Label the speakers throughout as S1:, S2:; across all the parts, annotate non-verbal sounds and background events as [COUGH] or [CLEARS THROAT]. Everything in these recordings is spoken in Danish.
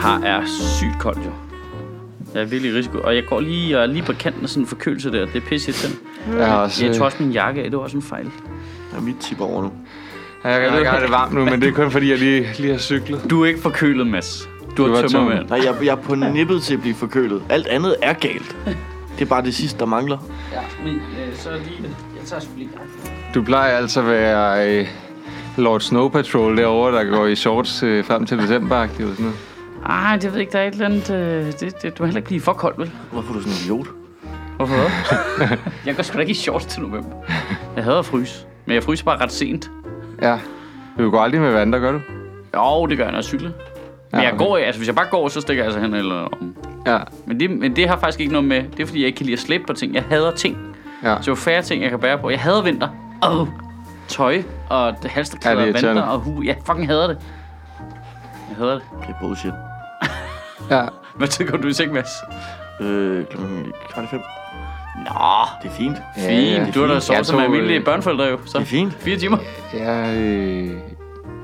S1: har, er sygt koldt jo. Jeg er virkelig i risiko. Og jeg går lige, jeg er lige på kanten af sådan en forkølelse der. Det er pisse til.
S2: Jeg har også...
S1: Jeg
S2: øh,
S1: tog også min jakke af. Det var også en fejl.
S3: Jeg er mit tip over nu.
S2: Ja, Jeg kan ikke have det varmt nu, men det er kun fordi, jeg lige, lige har cyklet.
S1: Du er ikke forkølet, Mads. Du
S2: var
S1: er tømmermand.
S3: Nej, jeg, jeg er på nippet til at blive forkølet. Alt andet er galt. Det er bare det sidste, der mangler.
S1: Ja, men øh, så lige... Jeg tager sgu lige
S2: Du plejer altså at være øh, Lord Snow Patrol derovre, der går i shorts øh, frem til december og sådan noget.
S1: Ej, det ved jeg ikke. Der er et eller andet... Øh, det, det, du må heller ikke blive for kold, vel?
S3: Hvorfor er du sådan en idiot?
S1: Hvorfor? [LAUGHS] jeg går sgu da ikke i shorts til november. Jeg hader at fryse. Men jeg fryser bare ret sent.
S2: Ja. Du går aldrig med vand, der gør du?
S1: Jo, det gør jeg, når jeg cykler. Men
S2: Ja,
S1: jeg
S2: okay.
S1: går, altså hvis jeg bare går, så stikker jeg altså hen eller om.
S2: Ja.
S1: Men det, men det har faktisk ikke noget med, det er fordi, jeg ikke kan lide at slippe på ting. Jeg hader ting.
S2: Ja.
S1: Så jo færre ting, jeg kan bære på. Jeg hader vinter. Åh, tøj og halsterklæder
S2: Ja, det
S1: og
S2: er
S1: vanter
S2: irriterende.
S1: og hu. Jeg fucking hader det. Jeg hader det.
S3: Det er bullshit.
S2: ja.
S1: Hvad tid går du i seng, Mads?
S3: Øh, klokken kvart i fem.
S1: Nå,
S3: Det er fint.
S2: Ja,
S1: fint.
S2: ja.
S1: Du har da
S3: Jeg
S1: sovet som
S2: tog, øh,
S1: almindelige børneforældre jo. Så
S3: Det er fint.
S1: fire timer.
S2: Jeg, øh,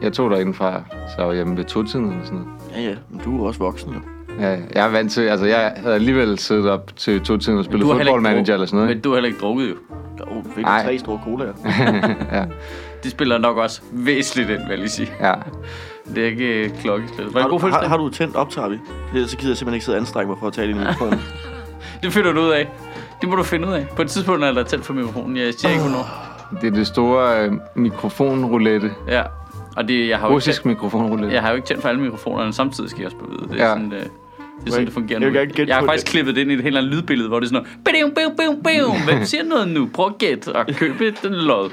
S2: jeg tog dig fra, så jeg var hjemme ved to-tiden eller sådan noget.
S3: Ja, ja. Men du er jo også voksen, jo.
S2: Ja, jeg er vant til, altså jeg havde alligevel siddet op til to-tiden og spillet
S1: har heller ikke
S2: football manager
S1: drukket-
S2: eller sådan noget.
S1: Men du har heller ikke drukket jo.
S3: Der er jo virkelig
S2: Ej.
S3: tre store colaer.
S1: Det spiller nok også væsentligt ind, vil jeg lige sige.
S2: ikke? Ja.
S1: Det er ikke øh, klokkeslæt. Var det
S3: Har
S1: en
S3: du,
S1: god
S3: har,
S1: fødselsdag?
S3: har du tændt optager vi? Fordi så gider jeg simpelthen ikke sidde og anstrenge mig for at tale i mikrofonen.
S1: [LAUGHS] Det finder du ud af. Det må du finde ud af. På et tidspunkt er der tændt for mikrofonen. Jeg siger ikke hvornår.
S2: Det er det store øh, mikrofonroulette.
S1: Ja. Og det, jeg har jo ikke
S2: Russisk
S1: tændt,
S2: mikrofonroulette.
S1: jeg har jo ikke tændt for alle mikrofonerne samtidig, skal jeg også bevide. Det er
S2: Ja.
S1: sådan, øh, det er sådan, det fungerer
S3: Jeg vil
S1: nu.
S3: gerne gætte
S1: jeg har
S3: på
S1: faktisk
S3: det.
S1: klippet det ind i et helt andet lydbillede, hvor det er sådan noget, bim, bim, bim,
S3: [LAUGHS]
S1: bim. Hvem siger noget nu? Prøv at gætte og købe den lod.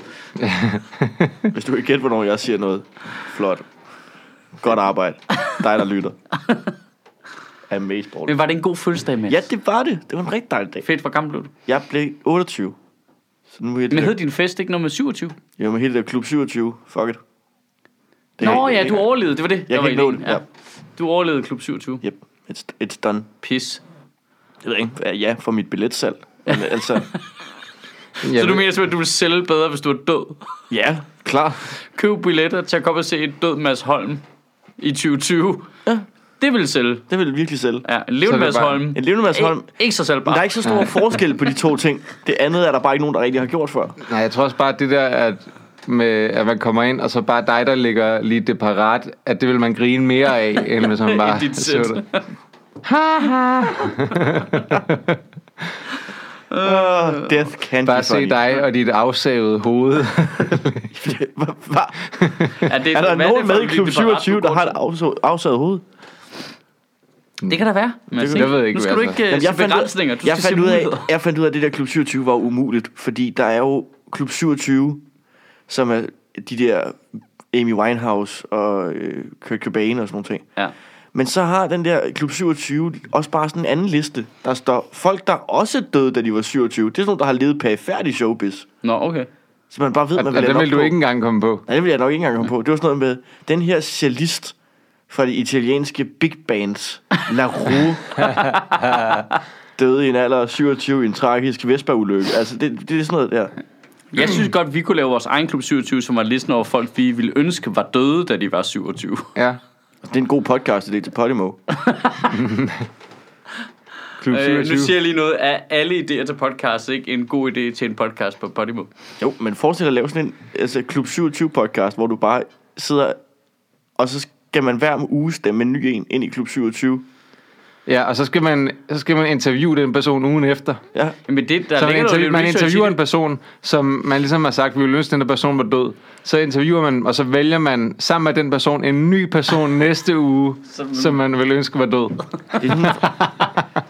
S3: Hvis du kan gætte, hvornår jeg siger noget. Flot. Godt arbejde. Dig, der lytter. Amazeball.
S1: Men var det en god fødselsdag, Mads?
S3: Ja, det var det. Det var en rigtig dejlig dag.
S1: Fedt, hvor gammel blev du?
S3: Jeg blev 28. Så nu er det
S1: Men hed
S3: der,
S1: din fest ikke nummer 27?
S3: jo, med hele det der klub 27. Fuck it. Det er
S1: Nå
S3: ikke-
S1: ja, du overlevede. Det var det. der
S3: kan
S1: var
S3: ikke nå
S1: ideen.
S3: det, ja.
S1: Du overlevede klub 27.
S3: Yep, it's, it's done.
S1: Pis.
S3: Jeg ved ikke, hvad- ja, for mit billetsalg. Men
S1: [LAUGHS]
S3: altså,
S2: Jeg
S1: Så du
S2: ved-
S1: mener simpelthen, at du vil sælge bedre, hvis du er død?
S3: ja, klar.
S1: Køb billetter til at komme og se et død Mads Holm i 2020. Ja. Det vil sælge.
S3: Det vil virkelig sælge.
S1: Ja, en levende
S2: det er
S1: Mads
S2: bare-
S1: Holm.
S3: En levende Mads Holm.
S1: Ikke, ikke så
S3: Men
S1: sælgbar.
S3: der er ikke så
S1: [LAUGHS]
S3: stor forskel på de to ting. Det andet er der bare ikke nogen, der rigtig har gjort før.
S2: Nej, jeg tror også bare, at det der, at, med, at man kommer ind, og så bare dig, der ligger lige det parat, at det vil man grine mere
S1: [LAUGHS]
S2: af, end hvis man bare
S1: End dit
S2: så
S1: sæt.
S2: det.
S1: Øh,
S3: Uh, death can
S2: Bare
S3: be funny.
S2: se dig og dit afsavede hoved.
S3: [LAUGHS] Hva- hva-
S1: er, det,
S3: Er der
S1: hvad det
S3: nogen
S1: for
S3: med i
S1: en
S3: klub
S1: lille parat,
S3: 27,
S1: du
S3: der
S1: går
S3: har et
S1: til?
S3: afså- afsaget hoved?
S1: Det kan der være. Mads,
S2: jeg ved ikke,
S1: nu skal du
S2: hvad
S1: ikke uh, se begrænsninger. Du
S3: jeg,
S1: skal
S3: fandt
S1: se
S3: ud af,
S1: muligheder.
S3: jeg fandt ud af, at det der klub 27 var umuligt, fordi der er jo klub 27, som er de der Amy Winehouse og øh, Kurt Cobain og sådan nogle ting.
S1: Ja.
S3: Men så har den der klub 27 også bare sådan en anden liste, der står folk, der også døde, da de var 27. Det er sådan nogle, der har levet perifært i showbiz.
S1: Nå, okay.
S3: Så man bare ved, at man
S2: og den
S3: lande
S2: vil
S3: op
S2: du
S3: på.
S2: ikke engang komme på.
S3: Nej, det ville jeg nok ikke engang komme på. Det var sådan noget med, den her cellist fra de italienske big bands, La Rue, døde i en alder af 27 i en tragisk Vespa-ulykke. Altså, det, det er sådan noget der.
S1: Jeg synes godt, vi kunne lave vores egen klub 27, som var listen over folk, vi ville ønske var døde, da de var 27.
S2: Ja.
S3: Det er en god podcast, det er til Podimo.
S2: Klub
S1: Øh, nu
S2: 27.
S1: siger jeg lige noget. Er alle idéer til podcast ikke en god idé til en podcast på Podimo?
S3: Jo, men forestil dig at lave sådan en altså, Klub 27-podcast, hvor du bare sidder, og så skal man hver uge stemme en ny en ind i Klub 27.
S2: Ja, og så skal, man, så skal man interviewe den person ugen efter.
S3: Ja,
S1: Jamen det, der
S2: Så man,
S1: ligger noget
S2: interview,
S1: lidt
S2: man
S1: research i
S2: interviewer
S1: det.
S2: en person, som man ligesom har sagt, vi vil ønske, at den der person var død. Så interviewer man, og så vælger man sammen med den person en ny person næste uge,
S1: Som-
S2: som, som man vil ønske var død.
S3: det er sådan,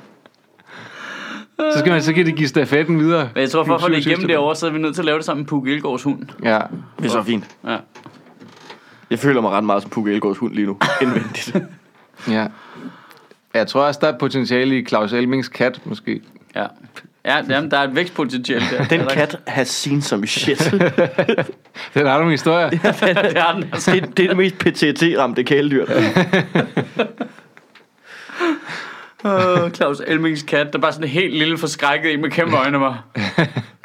S2: Så skal man så kan de give stafetten videre.
S1: Men jeg tror, for at få det
S2: 27
S1: igennem derovre, så er vi nødt til at lave det sammen med Puk Elgårds hund.
S2: Ja.
S3: det er så fint.
S1: Ja.
S3: Jeg føler mig ret meget som Pukke Elgårds hund
S1: [LAUGHS]
S3: lige nu, indvendigt.
S2: ja. Jeg tror også, der er potentiale i Claus Elmings kat, måske.
S1: Ja. Ja, jamen, der er et vækstpotentiale der.
S3: Den
S1: Er der [LAUGHS]
S3: kat har seen some shit. [LAUGHS]
S2: Den har nogle historier.
S1: ikke? Det er den altså.
S3: det, det er det mest PTT-ramte kæledyr.
S1: Åh, Claus Elmings kat, der er bare sådan helt lille forskrækket en med kæmpe øjne og mig.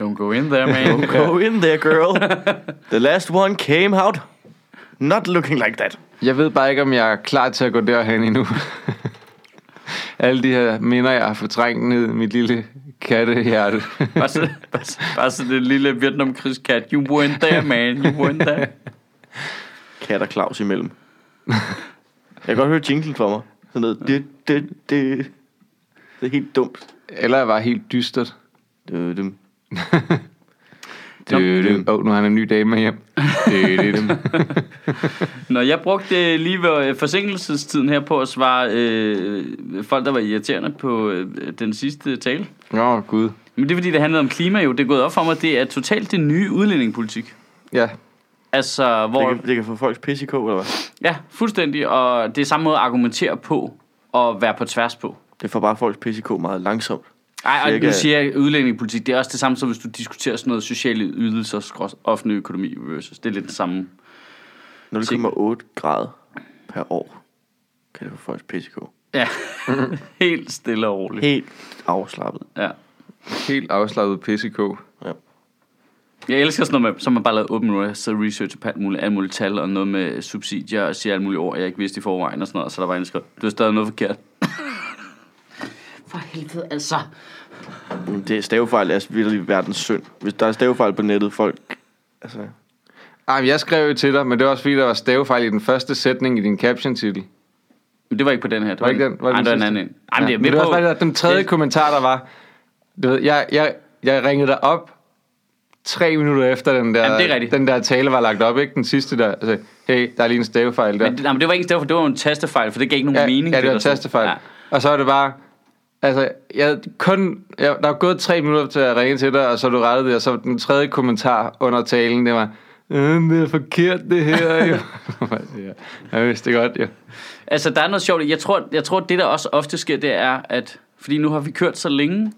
S1: Don't go in there, man.
S3: Go in there, girl. The last one came out. Not looking like that.
S2: Jeg ved bare ikke, om jeg er klar til at gå derhen endnu. [LAUGHS] alle de her minder, jeg har fortrængt ned i mit lille kattehjerte.
S1: [LAUGHS]
S2: [LAUGHS]
S1: Bare så, bare, så- bare så det lille Vietnamkrigskat. You went there, man. You went there.
S3: Kat og Claus imellem. jeg kan godt høre jinglen for mig. Sådan noget. Det, det, det, det er helt dumt.
S2: Eller jeg var helt
S1: [LAUGHS]
S2: dystert.
S3: Det, det.
S2: Åh, oh, nu har han en ny dame med
S1: [LAUGHS]
S2: hjem. Dødødum.
S1: Nå, jeg brugte øh, lige ved øh, forsinkelsestiden her på at svare øh, folk, der var irriterende på øh, den sidste tale.
S2: Nå, gud.
S1: Men det er fordi, det handlede om klima jo. Det er gået op for mig, det er totalt den nye udlændingepolitik.
S2: Ja,
S1: Altså, hvor...
S3: Det, kan, det kan få folks pisse i kog, eller hvad?
S1: Ja, fuldstændig. Og det er samme måde at argumentere på og være på tværs på.
S3: Det får bare folks pisse i kog meget langsomt.
S1: Ej, og
S3: Cirka-
S1: nu siger jeg udlændingepolitik. Det er også det samme som, hvis du diskuterer sådan noget sociale ydelser, skrås- offentlig økonomi versus. Det er lidt det samme.
S3: 0,8 grader per år kan det få folks pisse i kog.
S1: Ja, [LAUGHS] helt stille og roligt.
S3: Helt afslappet.
S1: Ja.
S2: helt afslappet pissekog.
S1: Jeg elsker sådan noget med, som man bare lavet åben nu, så researcher på alt muligt, alt muligt tal og noget med subsidier og siger alt muligt ord, jeg ikke vidste i forvejen og sådan noget, og så er der var en der skrev, du har stadig noget forkert. For helvede, altså.
S3: Men Det er stavefejl, er virkelig verdens synd. Hvis der er stavefejl på nettet, folk... Altså,
S2: Ej, men jeg skrev jo til dig, men det var også fordi, der var stavefejl i den første sætning i din caption-titel.
S1: Men det var ikke på den her. Det
S2: Var det ikke den? Var det
S1: Ej,
S2: den
S1: det var en
S2: sidste?
S1: anden en. Ej, men det er
S2: men
S1: med
S2: det var
S1: på.
S2: også bare det der- den tredje
S1: Det-
S2: kommentar, der var. Du ved, jeg, jeg, jeg ringede dig op tre minutter efter den der,
S1: Jamen, det er rigtigt.
S2: den der tale var lagt op, ikke? Den sidste der. Altså, hey, der er lige en stavefejl der.
S1: Men, det- nej, men det var ikke en stavefejl, det var jo en tastefejl, for det gav ikke nogen
S2: ja,
S1: mening.
S2: Ja, det var
S1: der
S2: en
S1: stod.
S2: tastefejl. Ja. Og så er det bare... Altså, jeg kun, jeg, der er gået tre minutter til at ringe til dig, og så har du rettet det, og så den tredje kommentar under talen, det var, øh, det er forkert
S1: [LAUGHS]
S2: det her, jo. ja, jeg vidste det godt, jo.
S1: Altså, der er noget sjovt. i- Jeg tror, jeg tror, det der også ofte sker, det er, at fordi nu har vi kørt så længe,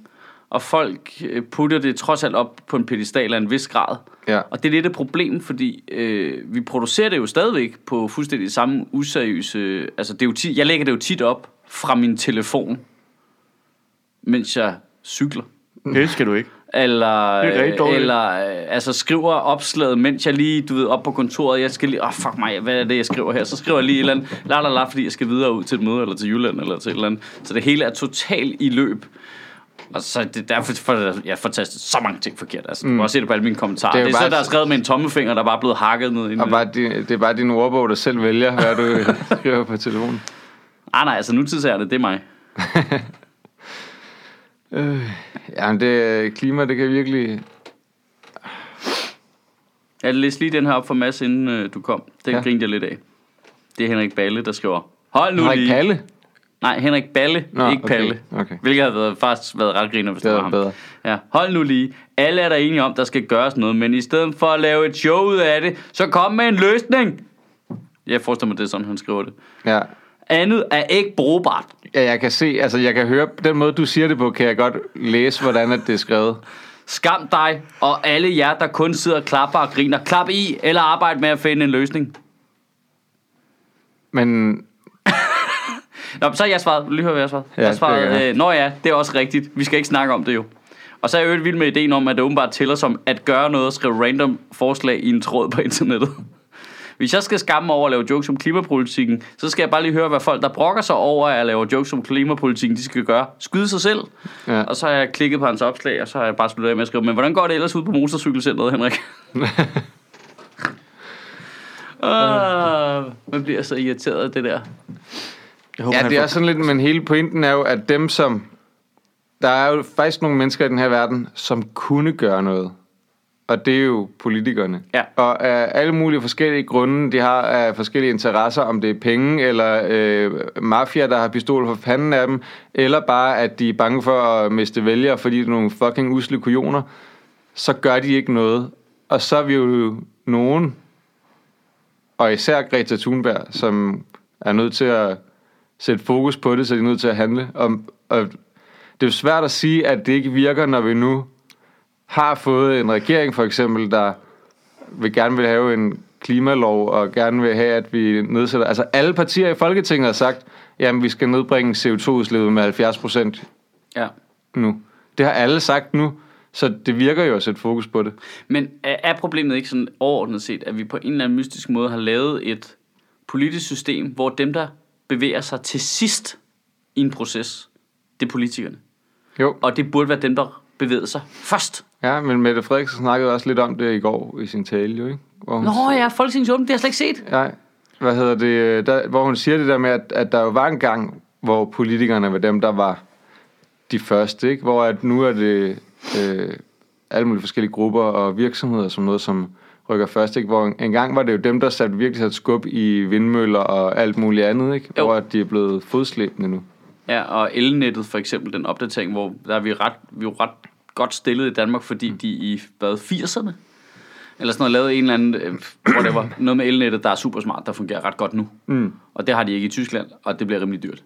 S1: og folk øh, putter det trods alt op på en pedestal af en vis grad.
S2: Ja.
S1: Og det er lidt et problem, fordi øh, vi producerer det jo stadigvæk på fuldstændig samme useriøse... Altså, det er jo tit, jeg lægger det jo tit op fra min telefon, mens jeg cykler.
S3: det skal du ikke.
S1: Eller,
S3: Det er rigtig dårligt.
S1: eller øh, altså skriver opslaget, mens jeg lige, du ved, op på kontoret, jeg skal lige, åh oh, fuck mig, hvad er det, jeg skriver her? Så skriver jeg lige et eller andet, la la la, fordi jeg skal videre ud til et møde, eller til Jylland, eller til et eller andet. Så det hele er totalt i løb. Og så er det derfor, for, jeg får tastet så mange ting forkert. Altså, mm. Du kan også se det på alle mine kommentarer.
S2: Det
S1: Det
S2: er
S1: er,
S2: jo
S1: det
S2: bare-
S1: er så, der er skrevet med en tommelfinger, der bare er blevet hakket ned.
S2: Og bare, din- det er bare din ordbog, der selv vælger, hvad du skriver på telefonen.
S1: Ah, nej, altså nutidsærende, det er mig.
S2: Øh, jamen, det klima, det kan virkelig...
S1: Jeg læste lige den her op for Mads, inden øh, du kom. Den
S2: Ja.
S1: ja. grinte jeg lidt af. Det er Henrik Balle, der skriver, hold nu
S2: Henrik
S1: lige.
S2: Palle?
S1: Nej, Henrik Balle,
S2: Nå,
S1: Nå, ikke
S2: okay,
S1: Palle.
S2: okay.
S1: Hvilket havde været, faktisk været ret griner, hvis det,
S2: Det
S1: var
S2: var
S1: ham.
S2: bedre.
S1: Ja, hold nu lige. Alle er der enige om, der skal gøres noget, men i stedet for at lave et show ud af det, så kom med en løsning. Jeg forestiller mig, det er sådan, han skriver det.
S2: Ja.
S1: Andet er ikke brugbart.
S2: ja, jeg kan se, altså jeg kan høre, den måde du siger det på, kan jeg godt læse, hvordan at det er skrevet.
S1: Skam dig og alle jer, der kun sidder og klapper og griner. Klap i, eller arbejde med at finde en løsning.
S2: Men
S1: Nå, men så har jeg svaret. Vil du Lige hør, hvad jeg svarede.
S2: Ja,
S1: jeg
S2: det vil jeg
S1: svarede,
S2: gerne.
S1: øh, Nå ja, det er også rigtigt. Vi skal ikke snakke om det jo. Og så er jeg jo vild med ideen om, at det åbenbart tæller som at gøre noget og skrive random forslag i en tråd på internettet. [LAUGHS] Hvis jeg skal skamme mig over at lave jokes om klimapolitikken, så skal jeg bare lige høre, hvad folk, der brokker sig over at lave jokes om klimapolitikken, de skal gøre. Skyde sig selv.
S2: Ja.
S1: Ja. Og så har jeg klikket på hans opslag, og så har jeg bare sluttet af med at skrive, men hvordan går det ellers ud på
S2: [LAUGHS]
S1: motorcykelcenteret, Henrik? [LAUGHS] Åh, Ah, man bliver så irriteret af det der.
S3: Jeg håber,
S2: Ja,
S3: han
S2: det er
S3: får-
S2: også sådan lidt, men hele pointen er jo, at dem som... Der er jo faktisk nogle mennesker i den her verden, som kunne gøre noget. Og det er jo politikerne.
S1: Ja.
S2: Og af alle mulige forskellige grunde, de har af forskellige interesser, om det er penge, eller øh, mafia, der har pistol for panden af dem, eller bare, at de er bange for at miste vælgere, fordi de er nogle fucking usle kujoner, så gør de ikke noget. Og så er vi jo nogen, og især Greta Thunberg, som er nødt til at sætte fokus på det, så de er nødt til at handle. Og, og det er jo svært at sige, at det ikke virker, når vi nu har fået en regering, for eksempel, der vil gerne vil have en klimalov, og gerne vil have, at vi nedsætter... Altså, alle partier i Folketinget har sagt, jamen, vi skal nedbringe CO2-udslippet med 70 procent
S1: Ja.
S2: nu. Det har alle sagt nu, så det virker jo at sætte fokus på det.
S1: Men er er problemet ikke sådan overordnet set, at vi på en eller anden mystisk måde har lavet et politisk system, hvor dem, der bevæger sig til sidst i en proces, det er politikerne.
S2: Jo,
S1: Og det burde være dem, der bevægede sig først.
S2: ja, men Mette Frederiksen snakkede også lidt om det i går i sin tale, jo, ikke? Hvor hun
S1: Nå ja, Folketingets åbning, det har jeg slet ikke set.
S2: Nej. Hvad hedder det? øh, Der, hvor hun siger det der med, at, at der jo var en gang, hvor politikerne var dem, der var de første, ikke? Hvor at nu er det øh, alle mulige forskellige grupper og virksomheder som noget, som rykker først, ikke? Hvor en, en gang var det jo dem, der satte virkelig sat skub i vindmøller og alt muligt andet, ikke?
S1: Jo.
S2: Hvor at de er blevet fodslæbende nu.
S1: Ja, og elnettet for eksempel, den opdatering, hvor der er vi, ret, vi er jo ret godt stillet i Danmark, fordi de i hvad, 80'erne, eller sådan noget, lavede en eller anden, øh, whatever, noget med elnettet, der er super smart, der fungerer ret godt nu. Mm. Og det har de ikke i Tyskland, og det bliver rimelig dyrt.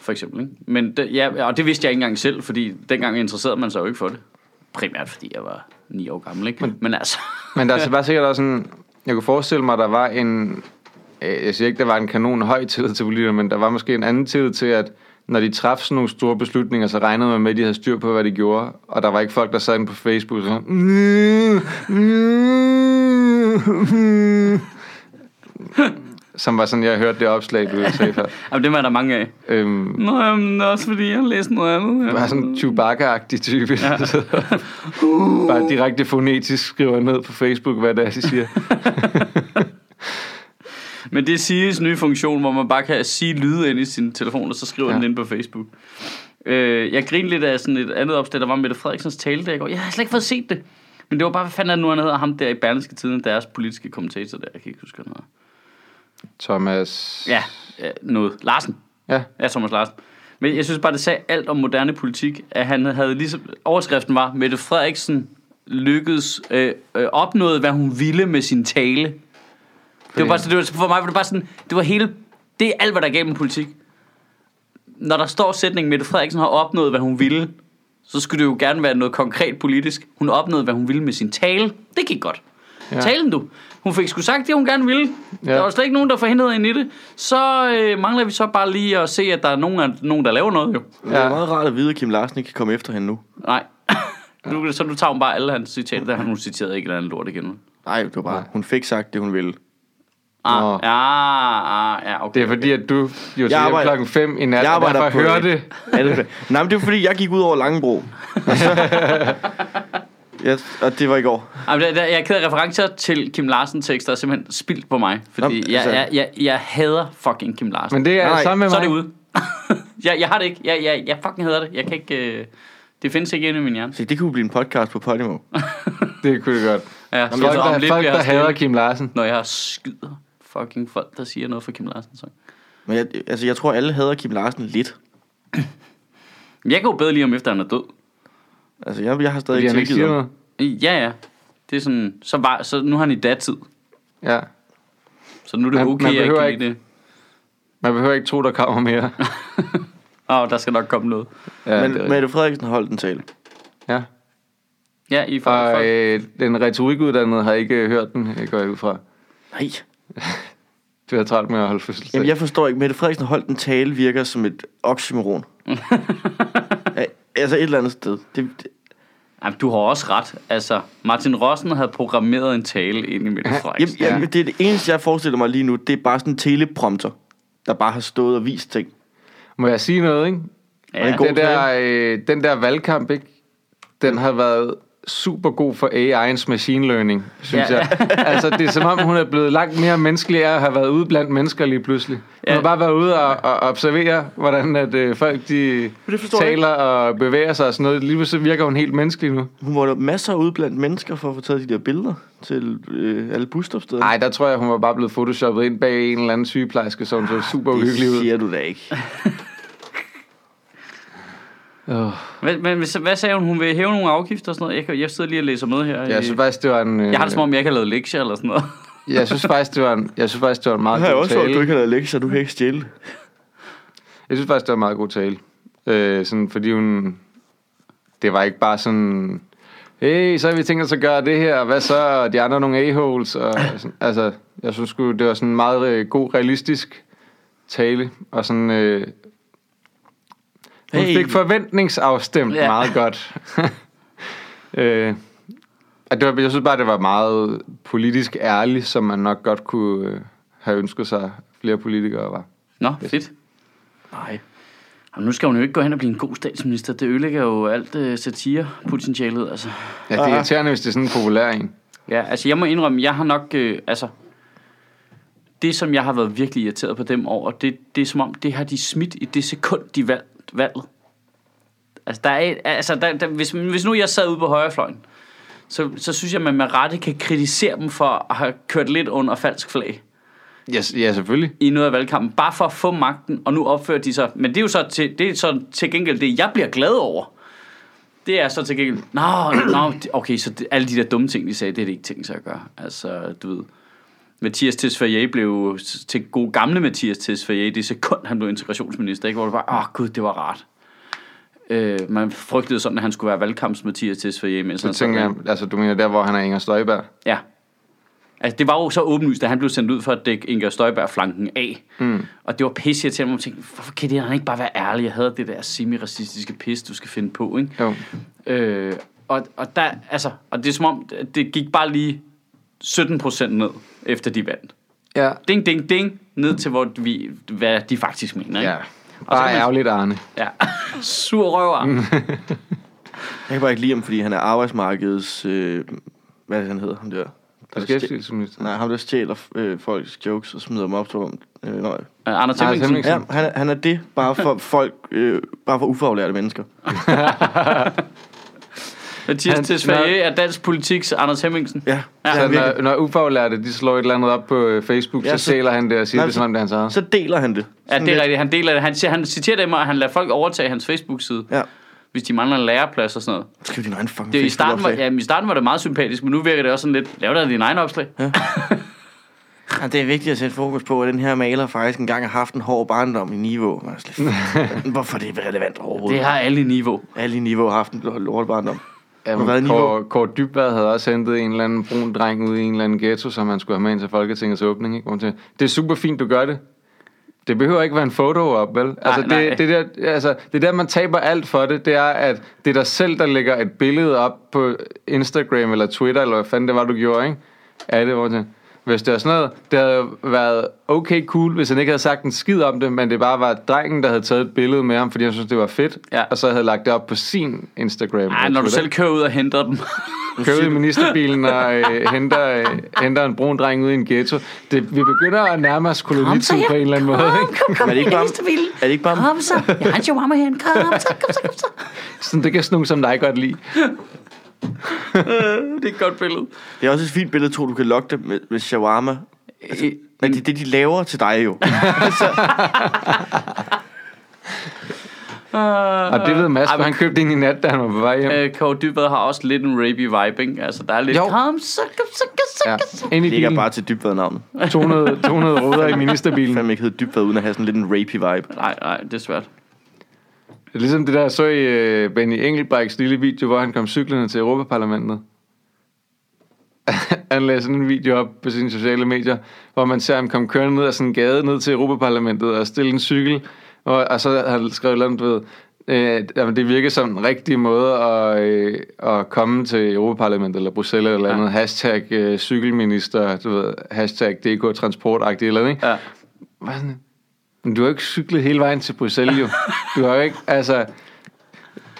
S1: For eksempel, ikke? Men det, ja, og det vidste jeg ikke engang selv, fordi dengang interesserede man sig jo ikke for det. Primært fordi jeg var 9 år gammel, ikke? Men, Men altså, [LAUGHS]
S2: Men der er så bare sikkert også en... Jeg kunne forestille mig, der var en... øh, Jeg siger ikke, der var en kanon høj tillid til politikere, men der var måske en anden tillid til, at når de træffede sådan nogle store beslutninger, så regnede man med, at de havde styr på, hvad de gjorde. Og der var ikke folk, der sad inde på Facebook og sådan... "Mm, mm, mm." Som var sådan, jeg hørte det opslag, du sagde før.
S1: jamen, det er der mange af.
S2: Øhm,
S1: Nå, jamen, også fordi jeg har læst noget andet.
S2: var sådan en Chewbacca-agtig type. [LAUGHS] Ja. Bare direkte fonetisk skriver ned på Facebook, hvad det er, de siger.
S1: Men det er Siris nye funktion, hvor man bare kan sige lyde ind i sin telefon, og så skriver ja.
S2: Ja.
S1: den ind på Facebook. Øh, jeg grinede lidt af sådan et andet opslag, der var Mette Frederiksens tale der i går. Jeg har slet ikke fået set det. Men det var bare, hvad fanden er det nu, han hedder ham der i Berlingske Tiden, deres politiske kommentator der. Jeg kan ikke huske, hvad han hedder.
S2: Thomas...
S1: Ja, ja, noget. Larsen.
S2: Ja,
S1: Ja, Thomas Larsen. Men jeg synes bare, det sagde alt om moderne politik, at han havde ligesom... Overskriften var, Mette Frederiksen lykkedes, øh, øh, opnåede, hvad hun ville med sin tale. Det var bare, så- det var, for mig var det bare sådan, det var hele, det er alt, hvad der er galt med politik. Når der står sætningen, Mette Frederiksen har opnået, hvad hun ville, så skulle det jo gerne være noget konkret politisk. Hun opnåede, hvad hun ville med sin tale. Det gik godt. Ja.
S2: Ja.
S1: Talen du. Hun fik sgu sagt det, hun gerne ville. Ja.
S2: Ja.
S1: Der var slet ikke nogen, der forhindrede hende i det. Så øh, mangler vi så bare lige at se, at der er nogen, af- nogen der laver noget jo.
S3: Det er
S2: Ja.
S3: meget rart at vide, at Kim Larsen ikke kan komme efter hende nu.
S1: Nej. [LAUGHS] nu, så nu tager hun bare alle hans citater, der har hun citeret ikke eller andet lort igen.
S3: Nej, det var bare, hun fik sagt det, hun ville.
S1: Ah,
S2: Nå.
S1: ja, ah, ja, okay.
S2: det er fordi, at du jo siger
S3: arbejder-
S2: klokken 5 i nat,
S3: Jeg
S2: og
S3: arbejder
S2: derfor
S3: på
S2: hører
S3: det.
S2: det.
S3: Ja, det er fair. Nej, men det er fordi, jeg gik ud over Langebro. Altså- ja, og det var i går.
S1: Ej, men der, der, jeg er ked af referencer til Kim Larsen-tekster, der er simpelthen spildt på mig. Fordi
S3: Nå,
S1: Nå, jeg,
S3: altså-
S1: jeg, jeg, jeg hader fucking Kim Larsen.
S2: Men det er
S3: Nej,
S2: sammen med
S1: så er
S2: mig.
S1: det ude. [LAUGHS] jeg, jeg har det ikke. Jeg, jeg, jeg fucking hader det. Jeg kan ikke... Øh, det findes ikke inde i min hjerne.
S3: Så det kunne blive en podcast på Podimo.
S2: Det kunne det godt.
S1: Ja,
S2: Folk, der, folk, der hader Kim Larsen.
S1: Når jeg skyder fucking folk, der siger noget for Kim Larsen. Så.
S3: Men jeg, altså, jeg tror, alle hader Kim Larsen lidt.
S1: Men jeg kan jo bedre lige om efter, han er død.
S3: Altså, jeg, jeg har stadig
S2: Fordi han
S3: ikke
S2: ikke siger
S3: tilgivet ham.
S2: noget.
S1: Ja, ja. Det er sådan... Så, var, så nu er han i datid.
S2: Ja.
S1: Så nu er det
S2: Man-
S1: okay,
S2: man
S1: man jeg ikke
S2: behøver
S1: kan lide det.
S2: Man behøver ikke tro, der kommer
S3: [LAUGHS]
S2: mere.
S1: Åh, oh, der skal nok komme noget.
S2: Ja, det er
S3: Men Mette Frederiksen holdt en tale.
S2: rigtigt. ja.
S1: Ja, I får...
S2: Og øh, den retorikuddannede har ikke øh, hørt den, jeg går jeg ud fra.
S3: Nej.
S2: Du har travlt med at holde fødselsdag.
S3: Jamen, jeg forstår ikke. Mette Frederiksen holdt en tale virker som et oxymoron. Ja, altså, et eller andet sted. Det, det,
S1: Jamen, du har også ret. Altså, Martin Rossen havde programmeret en tale ind i Mette
S3: jamen,
S1: Frederiksen.
S3: jamen, det er det eneste, jeg forestiller mig lige nu. Det er bare sådan en teleprompter, der bare har stået og vist ting.
S2: Må jeg sige noget, ikke?
S1: Ja,
S3: en god
S2: den, der, øh, den der valgkamp, ikke? Den har været super god for AI's machine learning, synes
S1: Ja.
S2: ja.
S3: [LAUGHS]
S2: jeg. Altså, det er som om, hun er blevet langt mere menneskelig af at have været ude blandt mennesker lige pludselig. Hun
S1: Ja.
S2: har bare været ude og, og observere, hvordan at, øh, folk de
S3: det forstår jeg
S2: taler og bevæger sig og sådan noget. Lige pludselig virker hun helt menneskelig nu.
S3: Hun var der masser ude blandt mennesker for at få taget de der billeder til øh, alle busstopsteder.
S2: Nej, der tror jeg, hun var bare blevet photoshoppet ind bag en eller anden sygeplejerske, så hun så super
S3: Ah, det
S2: uhyggelig ud.
S3: siger du da ikke.
S2: Oh,
S1: Hvad, men, hvis- hvad sagde hun? Hun vil hæve nogle afgifter og sådan noget? Jeg, kan, jeg sidder lige og læser med her.
S2: jeg synes faktisk, det var en... øh,
S1: jeg har det som om, jeg ikke har lavet lektier eller sådan noget. [LAUGHS]
S2: jeg synes faktisk, det var en, jeg synes faktisk, det var en
S3: Jeg
S2: meget
S3: har jeg
S2: god
S3: også hørt, at
S2: tale.
S3: du ikke har lavet lektier, du kan ikke stjæle.
S2: Jeg synes faktisk, det var en meget god tale. Øh, sådan, fordi hun... Det var ikke bare sådan... Hey, så har vi tænkt os at gøre det her, og hvad så? Og de andre er nogle a-holes. Og sådan, altså, jeg synes sgu, det var sådan en meget øh, god, realistisk tale. Og sådan... Øh, hun
S3: Hey.
S2: fik forventningsafstemt
S1: Ja.
S2: ja. meget godt. øh, og det var, jeg synes bare, det var meget politisk ærligt, som man nok godt kunne øh, have ønsket sig, flere politikere var.
S1: Nå, fedt.
S3: Nej.
S1: Jamen, nu skal hun jo ikke gå hen og blive en god statsminister. Det ødelægger jo alt øh, satirepotentialet, altså.
S2: Ja, det er irriterende, hvis det er sådan en populær en.
S1: Ja, altså jeg må indrømme, jeg har nok, øh, altså, det som jeg har været virkelig irriteret på dem over, det, det er som om, det har de smidt i det sekund, de valgt valget. Altså, der er, altså der, der, hvis, hvis nu jeg sad ude på højrefløjen, så, så synes jeg, at man med rette kan kritisere dem for at have kørt lidt under falsk flag
S2: Ja, s- ja selvfølgelig.
S1: i noget af valgkampen, bare for at få magten, og nu opfører de sig. Men det er jo så til, det er så til gengæld det, jeg bliver glad over. Det er så til gengæld, nå, nå okay, så det, alle de der dumme ting, de sagde, det er det ikke tænkt sig at gøre. Altså, du ved, Mathias Tesfaye blev jo s- til god gamle Mathias Tesfaye, det sekund, han blev integrationsminister, ikke? hvor det var, åh oh, gud, det var rart. Øh, man frygtede sådan, at han skulle være valgkamps Mathias Tesfaye. mens
S2: Så
S1: han sad
S2: tænker
S1: der.
S2: jeg, altså du mener der, hvor han er Inger Støjberg?
S1: Ja. Altså, det var jo så åbenlyst, at han blev sendt ud for at dække Inger Støjberg-flanken af. Mm. Og det var pisse til mig. Jeg tænkte, hvorfor kan det han ikke bare være ærlig? Jeg havde det der semi-racistiske pis, du skal finde på, ikke?
S2: Jo.
S1: Øh, og, og, der, altså, og det er som om, det gik bare lige 17 procent ned, efter de vandt.
S2: Ja.
S1: Ding, ding, ding, ned til, hvor vi, hvad de faktisk mener, ikke?
S2: Ja.
S1: Og så
S2: Bare
S1: kan man-
S2: ærgerligt, Arne.
S1: ja. [LAUGHS] Sur røver. Øh,
S3: Jeg kan bare ikke lide ham, fordi han er arbejdsmarkedets... Øh, hvad er det, han hedder, ham der? der stjæ-
S2: Beskæftigelsesminister.
S3: Nej, ham der stjæler øh, folks jokes og smider dem op til dem. Øh, nej.
S1: Anders Hemmingsen.
S2: Hemmingsen.
S3: Ja, han, er- han er det bare for folk, øh, bare for ufaglærte mennesker.
S1: Mathias
S2: Han-
S1: Tesfaye er dansk politiks Anders Hemmingsen.
S3: Ja,
S1: Ja,
S3: ja,
S2: Så
S3: han virkelig.
S2: når, når ufaglærte, de slår et eller andet op på øh, Facebook,
S3: Ja,
S2: så
S3: så-
S2: sæler han det og siger
S3: Nej,
S2: det, som om det er hans eget.
S3: Så deler han det.
S1: Ja,
S3: Sådan
S1: det
S3: lidt.
S1: er rigtigt. Han deler det. Han, siger- han citerer dem, og han lader folk overtage hans Facebook-side,
S3: Ja.
S1: hvis de mangler en læreplads og sådan noget.
S3: Skriv din egen fucking
S1: Det, er- i, starten var,
S3: Facebook-opslag.
S1: ja, men I starten var det meget sympatisk, men nu virker det også sådan lidt, lav dig din egen opslag.
S3: Ja, det er vigtigt at sætte fokus på, at den her maler faktisk engang har haft en hård barndom i Niveau. Man er slet- Hvorfor er det relevant overhovedet?
S1: Det har alle i niveau.
S3: Alle i Niveau har haft en lort barndom.
S2: Ja,
S3: Hvor meget
S2: men Kåre, Kåre Dybvad havde også hentet en eller anden brun dreng ud i en eller anden ghetto, som han skulle have med ind til Folketingets åbning. Ikke? Hvor man tænker, det er super fint, du gør det. Det behøver ikke være en foto op, vel? Altså,
S1: nej.
S2: det, det, der, altså, det der, man taber alt for det, det er, at det er dig selv, der lægger et billede op på Instagram eller Twitter, eller hvad fanden det var, du gjorde, ikke? Er det, hvor man tænker, hvis det var sådan noget, det havde været okay cool, hvis han ikke havde sagt en skid om det, men det bare var drengen, der havde taget et billede med ham, fordi han syntes, det var fedt,
S1: Ja.
S2: og så havde lagt det op på sin Instagram.
S1: Ej,
S2: eller
S1: når du
S2: Twitter.
S1: selv kører ud og henter dem. [LAUGHS]
S2: Mm. Kører ud i ministerbilen og
S3: [LAUGHS]
S2: øh, henter, øh, henter en brun dreng ud i en ghetto. Det, vi begynder at nærme os kolonitid på en eller anden måde. Ikke?
S3: Men er det ikke bare, er det ikke bare
S4: Kom så, jeg har en chihuahua herinde. Kom så, kom så, kom så.
S2: Sådan, det kan sådan nogen som dig godt lide.
S1: det er et godt billede.
S3: Det er også et fint billede, tror du kan lokke det med, med shawarma. Altså,
S1: Øh,
S3: men det er det, de laver til dig jo.
S1: Ah.
S2: Og det ved Mads, for han købte en i nat, da han var på vej hjem.
S1: Øh, Kåre Dybvad har også lidt en rapey vibe, ikke? Altså, der er lidt...
S2: Jo.
S4: Kom så, kom så, kom så,
S2: Ja.
S4: kom så.
S2: Ind i
S3: Det ligger
S2: bilen.
S3: bare til dybvad navnet.
S2: 200, 200 ruder
S3: [LAUGHS]
S2: i
S3: Jeg
S2: ministerbilen.
S3: fandt ikke hedde dybvad, uden at have sådan lidt en rapey vibe.
S1: Nej, nej, det er svært.
S2: Ligesom det der, jeg så i øh, Benny Engelbrechts lille video, hvor han kom cyklerne til Europaparlamentet. [LAUGHS] han lagde sådan en video op på sine sociale medier, hvor man ser ham komme kørende ned ad sådan en gade ned til Europaparlamentet og stille en cykel. Og, og så havde han skrevet noget, du ved, øh, jamen, det virker som den rigtige måde at, øh, at komme til Europaparlamentet eller Bruxelles eller ja. andet. Hashtag øh, cykelminister, du ved, hashtag DK transportagtigt eller andet, ikke?
S1: Ja.
S2: Var sådan, men du har jo ikke cyklet hele vejen til Bruxelles, jo. Du har jo ikke, altså,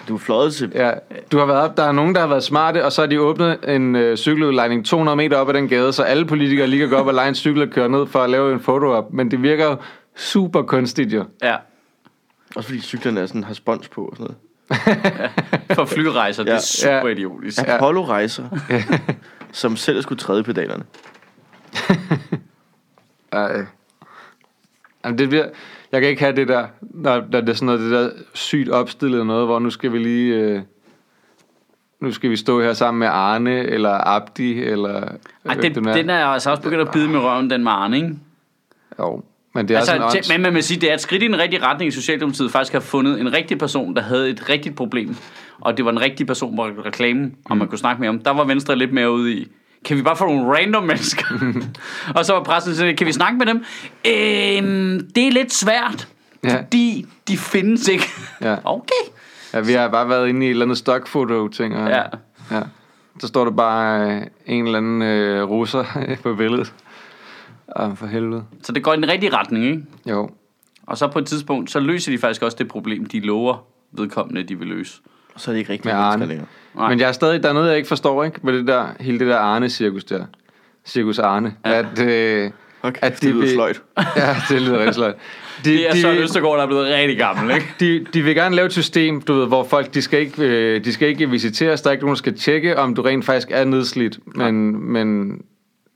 S3: Du er fløjet til...
S2: ja, du har været op, der er nogen, der har været smarte, og så har de åbnet en øh, cykeludlejning 200 meter op ad den gade, så alle politikere lige kan gå op og lege en cykel og køre ned for at lave en foto op. Men det virker jo super kunstigt, jo.
S1: Ja,
S3: Også fordi cyklerne er sådan, har spons på og sådan noget.
S1: for flyrejser, det
S3: Ja.
S1: er
S2: Ja.
S1: super idiotisk.
S2: [LAUGHS]
S3: Apollo-rejser, som selv skulle træde i pedalerne.
S2: Ej. Jamen, det bliver, jeg kan ikke have det der, når, når det er sådan noget, det der sygt opstillet noget, hvor nu skal vi lige... Øh, nu skal vi stå her sammen med Arne, eller Abdi, eller...
S1: Ej, den,
S2: er-
S1: den er altså også begyndt at bide med røven, den med Arne, ikke?
S2: Jo, men det er altså, sådan
S1: Altså,
S2: ånds...
S1: det, men man må sige, det er et skridt i den rigtige retning, at Socialdemokratiet faktisk har fundet en rigtig person, der havde et rigtigt problem. Og det var en rigtig person på reklamen, og
S2: Mm.
S1: man kunne snakke med om. Der var Venstre lidt mere ude i. Kan vi bare få nogle random
S2: [LAUGHS]
S1: mennesker? og så var pressen sådan, kan vi snakke med dem? Øhm, det er lidt svært,
S2: Ja.
S1: fordi de findes ikke.
S2: Ja.
S1: [LAUGHS] okay.
S2: Ja, vi har bare været inde i et eller andet stokfoto-ting. Og,
S1: Ja.
S2: ja. Så står der bare øh, en eller anden øh, [LAUGHS] russer på billedet. Åh, for helvede.
S1: Så det går i den rigtige retning, ikke?
S2: Jo.
S1: Og så på et tidspunkt, så løser de faktisk også det problem, de lover vedkommende, de vil løse.
S3: Så er det ikke rigtig
S2: Med
S3: mennesker
S2: Arne.
S3: længere.
S1: Nej.
S2: Men jeg er stadig, der er noget, jeg ikke forstår, ikke? Med det der, hele det der Arne-cirkus der. Cirkus Arne. Ja. At, øh, [LAUGHS]
S3: Okay,
S2: at
S3: at det lyder
S2: vil-
S3: sløjt.
S2: Ja, det lyder rigtig sløjt. De,
S1: Det er
S2: de,
S1: Søren Østergaard, der er blevet rigtig gammel, ikke?
S2: de, de vil gerne lave et system, du ved, hvor folk, de skal ikke, øh, de skal ikke visiteres, der er ikke nogen, der skal tjekke, om du rent faktisk er nedslidt, men, men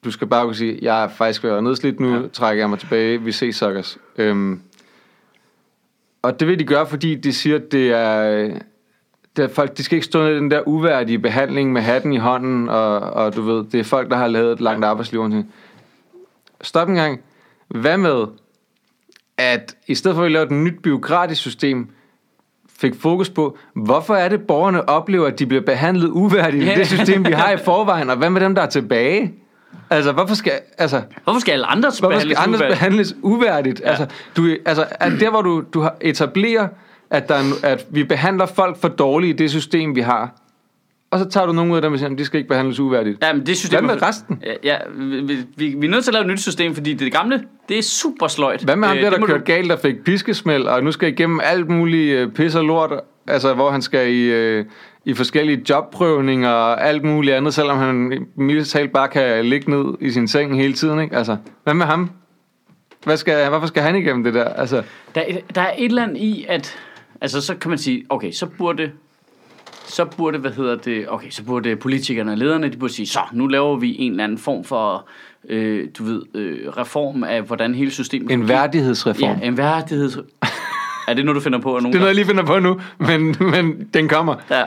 S2: du skal bare kunne sige, jeg er faktisk ved at være nedslidt nu, ja. trækker jeg mig tilbage, vi ses suckers. Øhm, og det vil de gøre, fordi de siger, at det er, det er folk, de skal ikke stå ned i den der uværdige behandling med hatten i hånden, og, og du ved, det er folk, der har lavet et langt arbejdsliv. og sådan noget. Stop en gang. Hvad med, at i stedet for at vi laver et nyt byråkratisk system, fik fokus på, hvorfor er det, borgerne oplever, at de bliver behandlet uværdigt i
S1: Ja.
S2: det system, vi har i forvejen, og hvad med dem, der er tilbage? Altså, hvorfor skal, altså,
S1: Hvorfor skal alle andre
S2: Hvorfor skal
S1: behandles
S2: andre
S1: uværdigt?
S2: behandles uværdigt? Ja. Altså, du, altså at der, hvor du, du har- etablerer, at, der er, no- at vi behandler folk for dårligt i det system, vi har, og så tager du nogen ud af dem og siger, at de skal ikke behandles uværdigt.
S1: Ja, men det system...
S2: Hvad med resten?
S1: Ja, ja vi, vi, vi, er nødt til at lave et nyt system, fordi det gamle, det er super sløjt.
S2: Hvad med ham
S1: Øh,
S2: der,
S1: det
S2: der
S1: må
S2: kørte galt og fik piskesmæld, og nu skal igennem alt muligt øh, pis og lort, altså hvor han skal i, øh, i forskellige jobprøvninger og alt muligt andet, selvom han mildest talt bare kan ligge ned i sin seng hele tiden, ikke? Altså, hvad med ham? Hvad skal, hvorfor skal han igennem det der? Altså,
S1: Der, er- der er et eller andet i, at... Altså, så kan man sige, okay, så burde... Så burde, hvad hedder det... Okay, så burde politikerne og lederne, de burde sige, så, nu laver vi en eller anden form for, øh, du ved, øh, reform af, hvordan hele systemet...
S2: en værdighedsreform.
S1: Ja, en værdighed...
S2: [LAUGHS]
S1: er det nu, du finder på? at nogen,
S2: Det er noget, jeg lige finder på nu, men, men den kommer.
S1: Ja.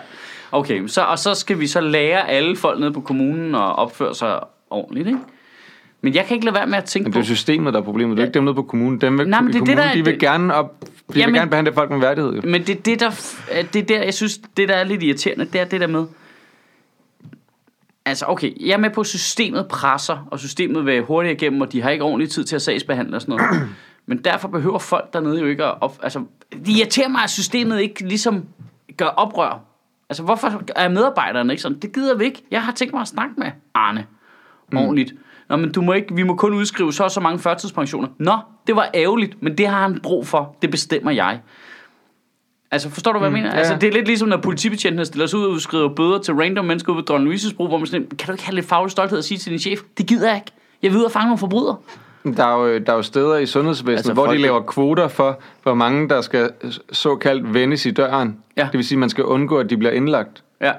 S1: Okay, så, og så skal vi så lære alle folk nede på kommunen og opføre sig ordentligt, ikke? Men jeg kan ikke lade være med at tænke
S2: Men det er
S1: på...
S2: jo systemet, der er problemet. Det er jo ikke dem nede på kommunen. Dem
S1: Nej,
S2: Nej,
S1: men
S2: men
S1: det er det,
S2: kommunen,
S1: der er-
S2: de vil
S1: det-
S2: gerne, op, de
S1: Jamen-
S2: vil gerne behandle folk med værdighed. Jo.
S1: Men det er det, der, f- at det er der, jeg synes, det der er lidt irriterende, det er det der med... Altså, okay, jeg er med på, at systemet presser, og systemet vil hurtigere igennem, og de har ikke ordentlig tid til at sagsbehandle og sådan noget. [CLEARS THROAT] Men derfor behøver folk dernede jo ikke at... Op, altså, det irriterer mig, at systemet ikke ligesom gør oprør. Altså, hvorfor er medarbejderne ikke sådan? Det gider vi ikke. Jeg har tænkt mig at snakke med Arne
S2: Mm.
S1: ordentligt. Nå, men du må ikke, vi må kun udskrive så og så mange førtidspensioner. Nå, det var ærgerligt, men det har han brug for. Det bestemmer jeg. Altså, forstår du, hvad jeg mener?
S2: Mm, ja.
S1: Altså, det er lidt ligesom, når politibetjentene stiller sig ud og udskriver bøder til random mennesker ude ved Dronning Louise's bro, hvor man sådan, kan du ikke have lidt faglig stolthed at sige til din chef, det gider jeg ikke. Jeg vil ud og fange nogle forbrydere.
S2: Der er, jo, øh, der er jo steder i sundhedsvæsenet,
S3: Altså,
S2: altså, hvor de
S3: folk-
S2: laver kvoter for, hvor mange der skal såkaldt vendes i døren.
S1: Ja.
S2: Det vil sige, at man skal undgå, at de bliver indlagt.
S1: Ja.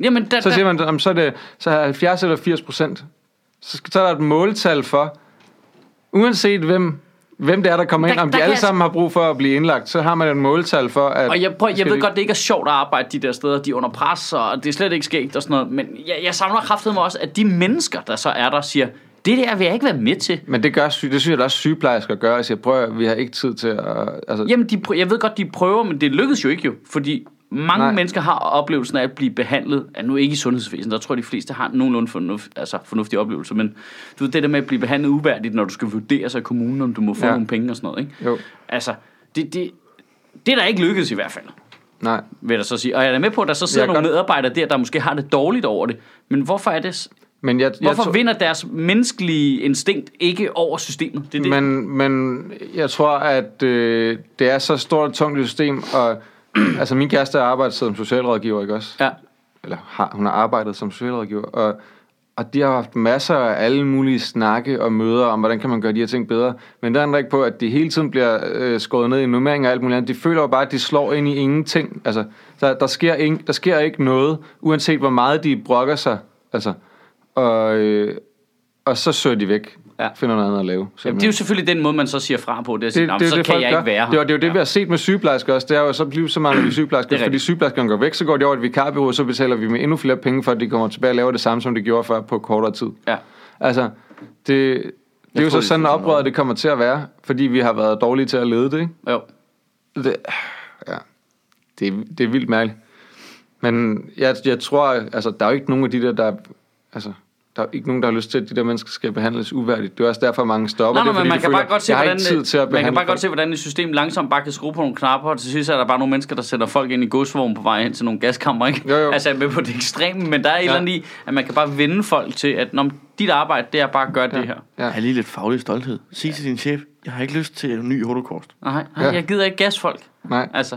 S1: Jamen, der,
S2: Så
S1: der-
S2: siger man, om så er det så er 70 eller 80 procent. Så, skal- så er der et måltal for, uanset hvem, hvem det er, der kommer ind,
S1: Der-
S2: om
S1: der
S2: de
S1: kan
S2: alle
S1: jeg-
S2: sammen har brug for at blive indlagt, så har man et måltal for, at...
S1: Og jeg, prøv, jeg
S2: skal
S1: ved
S2: de-
S1: godt, det ikke er sjovt at arbejde de der steder, de er under pres, og det er slet ikke skægt og sådan noget, men jeg, jeg savner kraftet mig også, at de mennesker, der så er der, siger, det der vil jeg ikke være med til.
S2: Men det, gør, sy- det synes jeg, der også sygeplejersker gør. Jeg siger, prøv at, høre, vi har ikke tid til at... Altså,
S1: Jamen, de prø- jeg ved godt, de prøver, men det lykkedes jo ikke jo, fordi mange Nej.
S2: Nej.
S1: mennesker har oplevelsen af at blive behandlet, er nu ikke i sundhedsvæsenet, der tror jeg, de fleste har nogenlunde fornuf, altså fornuftige oplevelser, men du ved, det der med at blive behandlet uværdigt, når du skal vurdere sig af kommunen, om du må få ja.
S2: Ja.
S1: nogle penge og sådan noget, ikke?
S2: Jo.
S1: Altså, det, det, det er der ikke lykkedes i hvert fald.
S2: nej.
S1: vil jeg da så sige. Og jeg er da med på, at der så sidder
S2: Jeg er
S1: nogle medarbejdere der, der måske har det dårligt over det. Men hvorfor er det... s-
S2: Men jeg, jeg
S1: Hvorfor
S2: tror-
S1: vinder deres menneskelige instinkt ikke over systemet? Det er det. Men,
S2: Men, men jeg tror, at øh, det er så stort og tungt et system, og [CLEARS THROAT] altså min kæreste har arbejdet som socialrådgiver, ikke også?
S1: ja.
S2: Eller har, hun har arbejdet som socialrådgiver, og, og de har haft masser af alle mulige snakke og møder om, hvordan kan man gøre de her ting bedre. Men der ændrer ikke på, at de hele tiden bliver øh, skåret ned i nummeringer og alt muligt andet. De føler jo bare, at de slår ind i ingenting. Altså, der, der, sker, ing, der sker ikke noget, uanset hvor meget de brokker sig. Altså, og, øh, og så søger de væk.
S1: Ja.
S2: Ja. Finder noget andet at lave. simpelthen.
S1: Jamen, det er jo selvfølgelig den måde, man så siger fra på. Det er at sige, det, det, så kan
S2: folk
S1: jeg
S2: gør.
S1: ikke være
S2: Det er,
S1: her.
S2: det er jo det, vi har set med sygeplejersker også. Det er jo, så bliver så mange vi sygeplejersker,
S1: Det er
S2: fordi
S1: rigtigt.
S2: sygeplejerskerne går væk, så går de over i et vikarbyrå, så betaler vi med endnu flere penge, for at de kommer tilbage og laver det samme, som de gjorde før på kortere tid.
S1: Ja.
S2: Altså, det, det er jo
S3: tror,
S2: så
S3: det
S2: sådan,
S3: er
S2: at
S3: sådan
S2: oprøret det kommer til at være, fordi vi har været dårlige til at lede det, ikke?
S1: Jo.
S2: Det, ja. det, er- det er vildt mærkeligt. Men jeg, jeg tror, altså, der er jo ikke nogen af de der, der... Altså, der er jo ikke nogen, der har lyst til, at de der mennesker skal behandles uværdigt. Det er også derfor, mange stopper
S1: Nej, nej,
S2: det, fordi
S1: men man
S2: de
S1: kan,
S2: føler,
S1: bare godt se,
S2: "Jeg har
S1: hvordan,
S2: ikke tid til at
S1: man kan
S2: behandle
S1: bare
S2: folk."
S1: godt se, hvordan et system langsomt bare kan skrue på nogle knapper, og til sidst er der bare nogle mennesker, der sætter folk ind i godsvogn på vej hen til nogle gaskammer, ikke?
S2: Jo, jo.
S1: Altså, jeg er med på det ekstreme, men der er et ja. eller andet i, at man kan bare vende folk til, at når dit arbejde, det er bare at gøre ja. det her.
S2: Ja.
S3: Har lige lidt faglig stolthed. Sig til din chef, jeg har ikke lyst til en ny holocaust.
S1: Nej, nej
S2: Ja.
S1: jeg gider ikke gasfolk.
S2: Nej.
S1: Altså,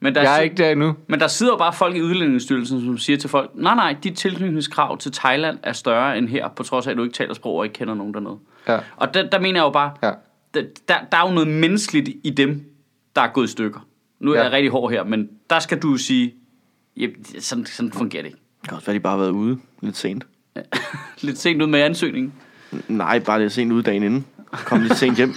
S1: men der,
S2: Jeg er
S1: si-
S2: ikke der endnu.
S1: men der sidder jo bare folk i udlændingsstyrelsen, som siger til folk, nej, nej, dit tilknytningskrav til Thailand er større end her, på trods af, at du ikke taler sprog og ikke kender nogen dernede.
S2: Ja.
S1: Og der, der mener jeg jo bare,
S2: Ja.
S1: der, der, der er jo noget menneskeligt i dem, der er gået i stykker. Nu er
S2: Ja.
S1: jeg rigtig hård her, men der skal du jo sige, ja, sådan, sådan fungerer det ikke.
S3: Det kan også være, de bare har været ude lidt sent.
S1: Lidt sent ud med ansøgningen.
S3: Nej, bare lidt sent ude dagen inden. Kom lidt sent
S2: [LAUGHS]
S3: hjem.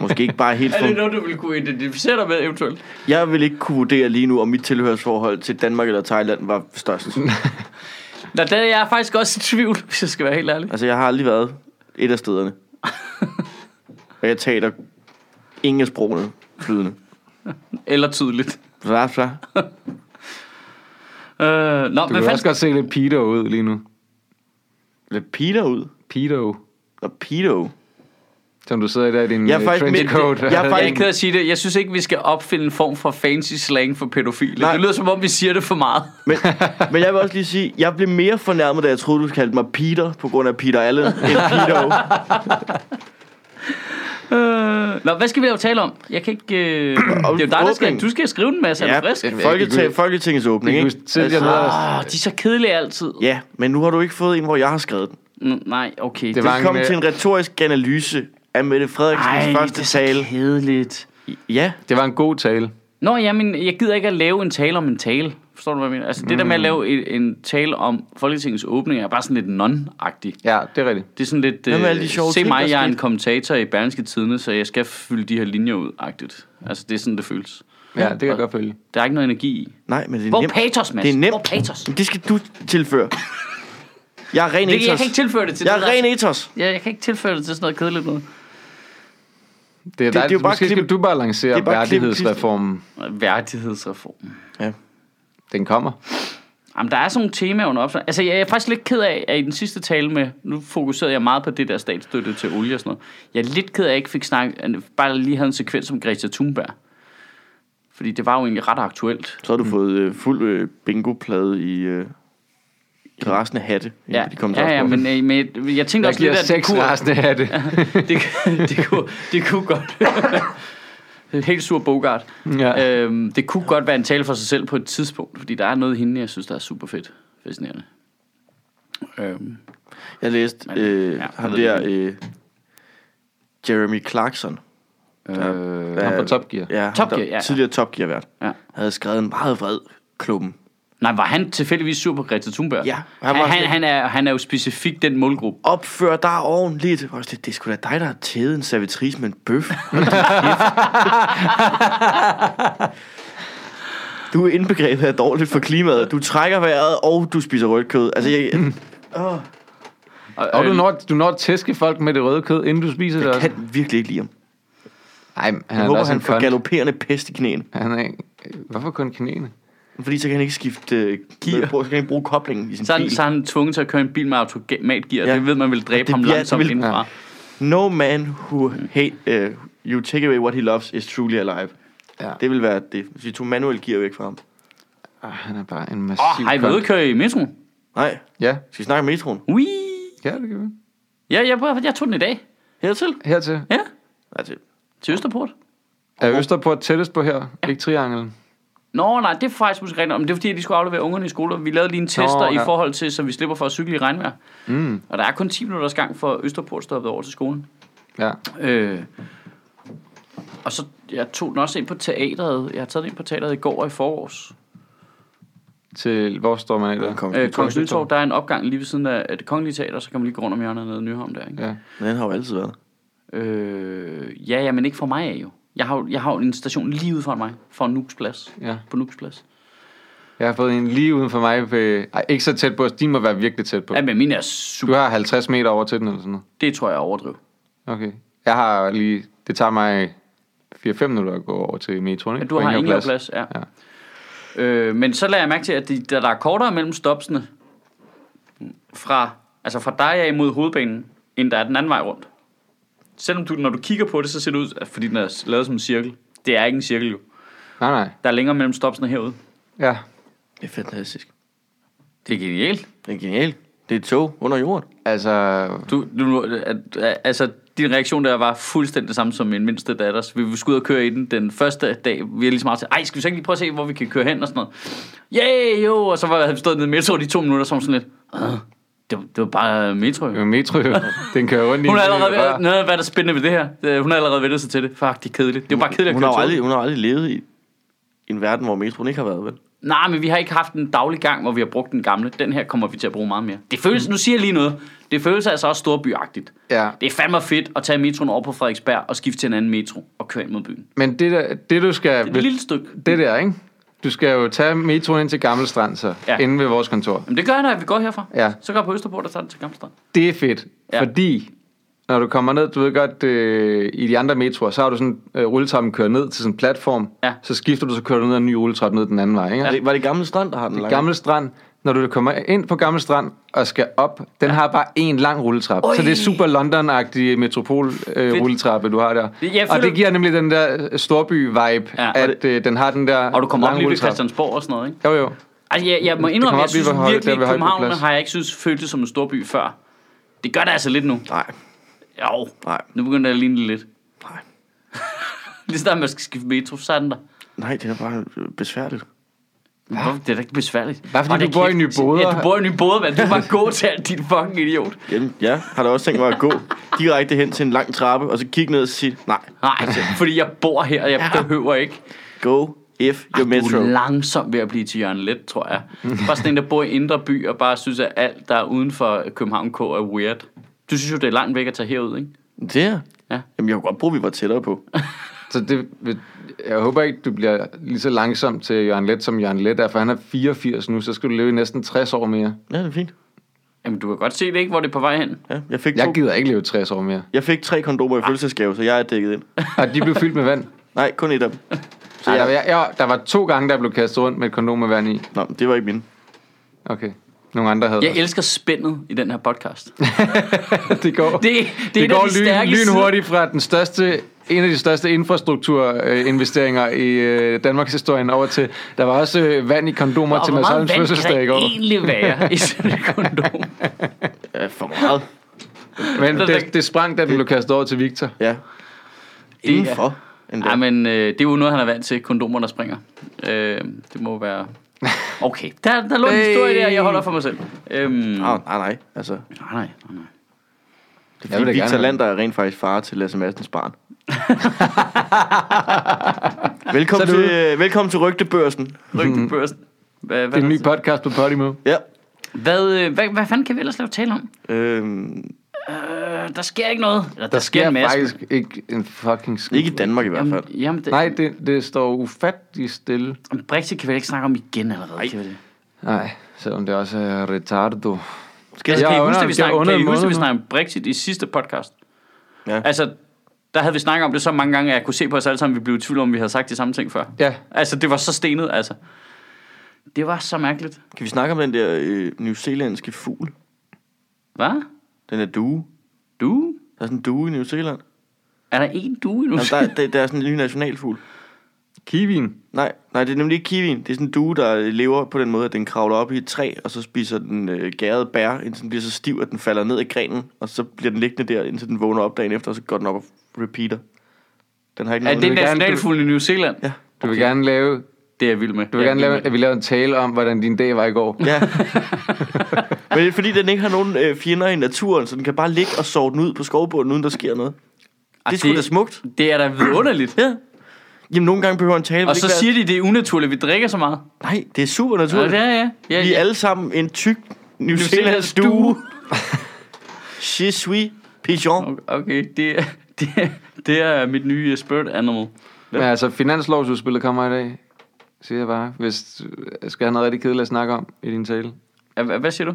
S3: Måske ikke bare helt
S1: Er det
S3: for...
S1: noget, du vil kunne identificere dig med eventuelt?
S3: Jeg vil ikke kunne vurdere lige nu, om mit tilhørsforhold til Danmark eller Thailand var
S2: [LAUGHS]
S3: størst.
S1: Nå, der er jeg faktisk også i tvivl, [LAUGHS] hvis jeg skal være helt ærlig.
S3: Altså, jeg har aldrig været et af
S2: [LAUGHS]
S3: stederne. Og jeg taler ingen af sprogene flydende.
S1: Eller tydeligt.
S3: Så, så.
S1: Øh, nå,
S2: Du kan
S1: men
S2: også godt se lidt pedo ud lige nu.
S3: Lidt Peter ud.
S2: Pedo.
S3: Og Peter.
S2: Som du sidder i der i din øh,
S3: Jeg
S2: jeg
S3: er faktisk med-
S2: trenchcoat.
S3: jeg er
S1: Jeg er
S3: faktisk-
S1: ikke ked af at sige det. Jeg synes ikke, vi skal opfinde en form for fancy slang for pædofile.
S3: Nej.
S1: Nej. Det lyder som om, vi siger det for meget.
S3: Men, men jeg vil også lige sige, jeg blev mere fornærmet, da jeg troede, du kaldte mig Peter, på grund af Peter Allen, end
S1: [LAUGHS]
S3: Peter.
S1: Øh, nå, hvad skal vi jo tale om? Jeg kan ikke... Øh,
S3: [CLEARS THROAT]
S1: det er jo dig, der skal...
S3: åbning.
S1: Du skal skrive den, Mads. Er
S3: Ja.
S1: du frisk?
S2: jeg kan
S3: Folketing,
S2: ikke-
S3: Folketingets åbning,
S2: Jeg kan
S3: ikke? Altså,
S2: huske tidligere noget,
S1: Åh, de er så kedelige altid.
S3: Ja, men nu har du ikke fået en, hvor jeg har skrevet den.
S1: N- nej, okay.
S2: Det
S1: Det
S2: var
S1: var
S2: Mange
S3: Velkommen
S2: med-
S3: til en retorisk analyse af Mette Frederiksens
S1: Ej, det
S3: første
S1: er så
S3: tale.
S1: kedeligt.
S3: Ja,
S2: Det var en god tale.
S1: Nå, jamen, jeg gider ikke at lave en tale om en tale. Forstår du, hvad jeg mener? Altså, det der med
S3: Mm.
S1: at lave en, en tale om Folketingets åbning er bare sådan lidt non-agtig.
S2: Ja, det er rigtigt.
S1: Det er sådan lidt,
S3: Hvad med
S1: øh,
S3: alle de sjove
S1: se
S3: ting, der
S1: mig, jeg er en
S3: skete?"
S1: kommentator i Berlingske Tidene, så jeg skal fylde de her linjer ud-agtigt. Altså, det er sådan, det føles.
S2: Ja, det kan jeg godt følge.
S1: Der er ikke noget energi i.
S3: nej, men det er
S1: Hvor
S3: nemt.
S1: patos, Mads?
S3: Det er nemt.
S1: Hvor patos?
S3: Men Det skal du tilføre. Jeg er ren
S1: Det, jeg
S3: etos.
S1: kan ikke tilføre det til
S3: Jeg
S1: det
S3: er
S1: der-
S3: ren etos.
S1: Ja, jeg kan ikke tilføre det til sådan noget kedeligt noget.
S2: Det er,
S3: det er
S2: dejligt.
S3: jo bare
S2: Måske skal
S3: klip-
S2: du bare lancere
S3: det er bare klip-
S2: værdighedsreformen.
S1: Værdighedsreform.
S3: Ja.
S2: Den kommer.
S1: Jamen, der er sådan nogle temaer under opslag. Altså, jeg er faktisk lidt ked af, at i den sidste tale med... Nu fokuserede jeg meget på det der statsstøtte til olie og sådan noget. Jeg er lidt ked af, at jeg ikke fik snakket... Bare lige havde en sekvens om Greta Thunberg. Fordi det var jo egentlig ret aktuelt.
S3: Så har du fået øh, fuld øh, bingoplade i øh, i resten af hatte. inden
S1: Ja,
S3: for de
S1: ja,
S3: kommentarer.
S1: ja men, øh, men jeg- jeg tænkte
S2: Jeg
S1: også lidt,
S2: giver
S1: at det
S2: seks
S1: kunne,
S2: resten af
S1: [LAUGHS]
S2: det.
S1: det, det, kunne, det kunne godt... [LAUGHS] Helt sur Bogart.
S2: Ja.
S1: Øhm, det kunne godt være en tale for sig selv på et tidspunkt, fordi der er noget i hende, jeg synes, der er super fedt. Fascinerende. Øhm,
S3: Jeg læste
S1: Men,
S3: øh,
S1: ja,
S3: ham
S1: jeg ved
S3: der, øh, Jeremy Clarkson.
S2: Øh, ham på Top Gear.
S3: Ja, ham
S1: Top
S3: der
S1: Gear, ja, ja.
S3: Tidligere Top Gear-vært.
S1: Ja.
S3: Havde skrevet en meget vred klummen.
S1: nej, var han tilfældigvis sur på Greta Thunberg?
S3: Ja,
S1: Han,
S3: han var-
S1: han, han, han, er, han er jo specifikt den målgruppe.
S3: Opfør dig ordentligt. Jeg var Også lidt, det er sgu da dig, der har tædet en servitrice med en bøf. Hold da kæft. du er indbegrebet af dårligt for klimaet. Du trækker vejret, og du spiser rødt kød. Altså, jeg,
S1: Mm, Øh,
S2: Og du når, du når at tæske folk med det røde kød, inden du spiser det
S3: jeg
S2: også.
S3: kan virkelig ikke lide ham.
S2: Nej, han
S3: Jeg
S2: er
S3: håber,
S2: også
S3: han
S2: en
S3: får
S2: kon.
S3: galopperende pest i knæene.
S2: Han er ikke... Hvorfor kun knæene?
S3: Fordi så kan han ikke skifte øh, gear. Så kan han ikke bruge koblingen i sin
S1: Så er, han,
S3: bil.
S1: så er han tvunget til at køre en bil med automatgear. Ja.
S3: Ja.
S1: Det ved man vil dræbe
S3: Det
S1: ham
S3: bliver-
S1: langsomt
S3: det vil-
S1: indfra.
S3: No man who hate, uh, you take away what he loves is truly alive.
S2: Ja.
S3: Det vil være det. Hvis vi tog manuel gear væk fra ham.
S2: Ah, han er bare en
S1: Åh,
S2: massiv
S1: har I været ude at
S2: kon.
S1: køre i metroen?
S3: Nej,
S2: Ja,
S3: skal vi snakke om metroen?
S1: Ui.
S2: ja, det kan vi.
S1: Ja, jeg, jeg tog den i dag.
S3: Hertil?
S2: Hertil.
S1: Ja,
S3: Altså,
S1: til Østerport.
S2: Er Østerport tættest på her? Ikke trianglen.
S1: Nå, nej, det er faktisk måske rigtigt. Men det er fordi, at de skulle aflevere ungerne i skole. og Vi lavede lige en tester
S2: Nå, ja.
S1: i forhold til, så vi slipper for at cykle i regnvejr. Mm. Og der er kun 10 minutters gang for Østerport stoppet over til skolen.
S2: Ja.
S1: Øh, og så jeg tog den også ind på teateret. Jeg har taget den ind på teateret i går og i forårs.
S2: Til hvor står man i der?
S1: Øh, Kongens Nytorv, der er en opgang lige ved siden af af det kongelige teater, så kan man lige gå rundt om hjørnet nede i Nyhavn der. Ikke?
S2: Ja.
S3: Den har jo altid været.
S1: Øh, ja, ja, men ikke for mig af jo. Jeg har, jo- jeg har jo en station lige ude for mig, for Nuks Plads.
S2: Ja.
S1: På Nuks Plads.
S2: Jeg har fået en lige uden for mig. Ved... Ej, ikke så tæt på os. De må være virkelig tæt på.
S1: Ja, men min er
S2: Du
S1: super.
S2: har 50 meter over til den eller sådan noget.
S1: Det tror jeg er overdrevet.
S2: Okay. Jeg har lige... Det tager mig 4-5 minutter at gå over til metroen, ikke?
S1: Men du
S2: På
S1: har
S2: Enghave
S1: ingen plads, ja. ja. Øh, men så lader jeg mærke til, at de, der, der er kortere mellem stopsene fra, altså fra dig af mod hovedbanen, end der er den anden vej rundt. Selvom du, når du kigger på det, så ser det ud, fordi den er lavet som en cirkel. Det er ikke en cirkel jo.
S2: Nej, nej.
S1: Der er længere mellem stopsene herude.
S2: Ja.
S3: Det er fantastisk.
S1: Det er genialt.
S3: Det er genialt. Det er et tog under jorden.
S2: Altså,
S1: Du, du, at, at, altså, din reaktion der var fuldstændig det samme som min mindste datters. Vi skulle ud og køre i den den første dag. Vi er lige smart til, ej, skal vi så ikke lige prøve at se, hvor vi kan køre hen og sådan noget. Yeah, jo, og så var jeg havde vi stået nede i metroen i to minutter, som sådan lidt, "Øh, det, var- det var bare øh, metro. jo."
S2: Det er en metro,
S1: [LAUGHS]
S2: jo. den kører rundt i
S1: Hun er
S2: en lille
S1: allerede ved,
S2: rør.
S1: noget, hvad er der spændende ved det her. Øh, Hun har allerede vendt sig til det. Fuck, det er kedeligt. Det er jo bare kedeligt at
S3: Hun har,
S1: køre
S3: jo
S1: tog.
S3: aldrig, hun har aldrig levet i en verden, hvor metroen ikke har været, vel?
S1: Nej, men vi har ikke haft en daglig gang, hvor vi har brugt den gamle. Den her kommer vi til at bruge meget mere. Det føles, nu siger jeg lige noget, det føles altså også storbyagtigt.
S2: Ja.
S1: Det er fandme fedt at tage metroen over på Frederiksberg og skifte til en anden metro og køre ind mod byen.
S2: Men det, der, det du skal...
S1: Det er et lille stykke.
S2: Det der, ikke? Du skal jo tage metroen ind til Gammel Strand, så.
S1: Ja.
S2: Ja. Inden ved vores kontor.
S1: Jamen det gør jeg, når vi går herfra.
S2: Ja.
S1: Så går jeg på Østerbro, der tager den til Gammelstrand.
S2: Det er fedt,
S1: Ja.
S2: ja. fordi når du kommer ned, du ved godt, øh, i de andre metroer, så har du sådan øh, rulletrappen kører ned til sådan en platform,
S1: Ja.
S2: så skifter du, så kører du ned ad en ny rulletrappe ned den anden vej, ikke?
S3: Ja.
S2: Ja.
S3: Det, var det gamle strand, der har den lange?
S2: Gammel Strand, når du kommer ind på Gammel Strand og skal op, den ja. har bare en lang rulletrappe. Oi. Så det er super London-agtig metropol-rulletrappe, øh, du har der.
S1: Det- jeg
S2: og
S1: føler-
S2: det giver nemlig den der storby-vibe,
S1: Ja.
S2: ja. at øh, den har den der
S1: Og du kommer op
S2: lange
S1: lige ved
S2: rulletrappe.
S1: Christiansborg og sådan noget, ikke?
S2: Jo, jo.
S1: Altså, jeg, jeg må
S2: kommer
S1: indrømme,
S2: op
S1: jeg
S2: lige
S1: synes
S2: ved Høj-
S1: virkelig,
S2: der ved
S1: at København
S2: Højbroplads.
S1: har jeg ikke synes føltes som en storby før. Det gør det altså lidt nu.
S3: Nej,
S1: Jo,
S3: nej,
S1: nu begynder det at ligne det lidt.
S3: nej.
S1: Lige snart man skal skifte metro, så er den der.
S3: Nej, det er bare øh, besværligt.
S1: Hvorfor? Det er da ikke besværligt.
S2: Bare fordi
S1: Og
S2: du
S1: det
S2: bor
S1: kan-
S2: i Nye Boder.
S1: Ja, du bor i Nye Boder, mand. Du kan bare gå til alt, din fucking idiot.
S3: Jamen, ja, har da også tænkt mig at
S1: [LAUGHS]
S3: gå direkte hen til en lang trappe, og så kigge ned og sige, nej,
S1: Nej,
S2: [LAUGHS]
S1: altså, fordi jeg bor her, og jeg behøver ikke.
S3: go if your
S1: Du
S3: metro.
S1: er langsomt ved at blive til Jørgen Let, tror jeg. Bare sådan en, der bor i indre by, og bare synes, at alt, der er uden for København K, er weird. Du synes jo, det er langt væk at tage herud, ikke?
S3: Det er.
S1: Ja.
S3: Jamen, jeg kunne godt bruge, at vi var tættere på.
S2: Så det, vil- jeg håber ikke, du bliver lige så langsom til Jørgen Let, som Jørgen Let er, for han er 84 nu, så skal du leve i næsten 60 år mere.
S3: Ja, det er fint.
S1: Jamen, du kan godt se det, ikke? Hvor det er på vej hen.
S3: Ja, jeg, fik
S2: Jeg
S3: to,
S2: gider ikke leve 60 år mere.
S3: jeg fik tre kondomer i
S1: Ah.
S3: fødselsdagsgave, så jeg er dækket ind.
S2: Og de blev fyldt med
S1: [LAUGHS]
S2: vand.
S3: Nej, kun et af dem.
S2: Så jeg, jeg, jeg, der var to gange, der blev kastet rundt med et kondom med vand i.
S3: Nå, men det var ikke mine.
S2: Okay. Nogle andre havde
S1: Jeg elsker spændet i den her podcast. [LAUGHS]
S2: [LAUGHS] det. Det går,
S1: Det, det, det er
S2: det
S1: en af
S2: går
S1: de
S2: lyn,
S1: stærke sider.
S2: lynhurtigt fra den største, en af de største infrastrukturinvesteringer i øh, Danmarks historie over til, der var også øh, vand i kondomer
S1: Og
S2: til
S1: hvor
S2: Mads
S1: meget
S2: Holms
S1: vand
S2: fødselsdag i
S1: kan
S2: går.
S1: der egentlig
S2: [LAUGHS]
S1: være i sådan et kondom?
S3: Ja, for meget.
S2: Men
S1: der-
S2: det, det sprang, da den blev kastet over til Victor.
S3: Ja.
S1: Det er-
S3: Indenfor. endda.
S1: Ja, men øh, det er jo noget, han er vant til. Kondomer, der springer. Øh, det må være...
S2: [LAUGHS]
S1: Okay, der, der lå en historie der, jeg holder for mig selv.
S2: Ah.
S1: Øhm, nej,
S3: Nej, nej, nej. Altså, det
S1: nej, nej, nej.
S3: er
S2: Jeg vil da
S3: fordi, Victor
S2: gerne-
S3: Lander er rent faktisk far til Lasse Madsens
S2: [LAUGHS]
S3: barn. velkommen,
S2: Så er det
S3: til, øh, velkommen til Rygtebørsen.
S1: Rigtig børsten. Hvad,
S2: Det
S1: hvad,
S2: er en ny
S1: hvad,
S2: podcast på Podimo.
S3: Ja.
S1: hvad, øh, hvad, hvad fanden kan vi ellers lave tale om?
S3: Øhm,
S1: Øh, der sker ikke noget. Eller, der, der sker,
S2: sker
S1: en masse.
S2: faktisk ikke en fucking skid.
S3: ikke i Danmark i hvert fald.
S1: Jamen, jamen det,
S2: Nej, det, det står ufattelig stille.
S1: Brexit kan vi ikke snakke om igen allerede. Nej. Kan vi det?
S2: Nej, selvom det også er retardo.
S1: Skal, altså,
S2: jeg
S1: kan I
S2: er
S1: huske,
S2: under-
S1: at vi
S2: jeg er
S1: snakkede,
S2: under
S1: kan I
S2: en
S1: huske, at vi
S2: måned nu.
S1: snakkede om Brexit i sidste podcast?
S3: Ja.
S1: Altså, der havde vi snakket om det så mange gange, at jeg kunne se på os alle sammen, at vi blev i tvivl om, at vi havde sagt de samme ting før.
S2: Ja.
S1: Altså, det var så stenet, altså. Det var så mærkeligt.
S3: Kan vi snakke om den der øh, newzealandske fugl?
S1: Hvad?
S3: Den der due.
S1: Du?
S3: Der er sådan en due i New Zealand.
S1: Er der en du endnu?
S3: Jamen, der,
S1: [LAUGHS]
S3: er- der, der er sådan en ny nationalfugl.
S2: Kiwien.
S3: Nej, nej, det er nemlig ikke kiwien. Det er sådan en due, der lever på den måde, at den kravler op i et træ, og så spiser den øh, gærede bær, indtil den bliver så stiv, at den falder ned i grenen, og så bliver den liggende der, indtil den vågner op dagen efter, og så går den op og repeater. Den har ikke
S1: Er
S3: noget
S1: det
S2: vil gerne-
S1: nationalfuglen i New Zealand?
S3: Ja.
S2: Du vil gerne lave,
S1: Det er jeg vild med.
S2: du vil gerne lave, at vi laver en tale om, hvordan din dag var i går.
S3: Ja. [LAUGHS] Men det er fordi, den ikke har nogen øh, fjender i naturen, så den kan bare ligge og sove den ud på skovbunden, uden der sker noget. Det er sgu da smukt.
S1: Det er da vidunderligt.
S3: Ja. Jamen, nogle gange behøver en tale. vel
S1: Og
S3: ikke
S1: så
S3: være-
S1: siger de, det er unaturligt, vi drikker så meget.
S3: Nej, det er super
S1: Ja,
S3: naturligt.
S1: ja, ja. ja,
S3: Vi er
S1: ja.
S3: alle sammen en tyk New Zealands due. [LAUGHS] Je suis pigeon. Okay.
S1: Okay, det, [LAUGHS] er- det, er- det er mit nye spirit animal.
S2: Men altså, finanslovsudspillet kommer i dag, siger jeg bare. Hvis, skal jeg have noget rigtig kedeligt at snakke om i din tale?
S1: Ja, hva- Hvad siger du?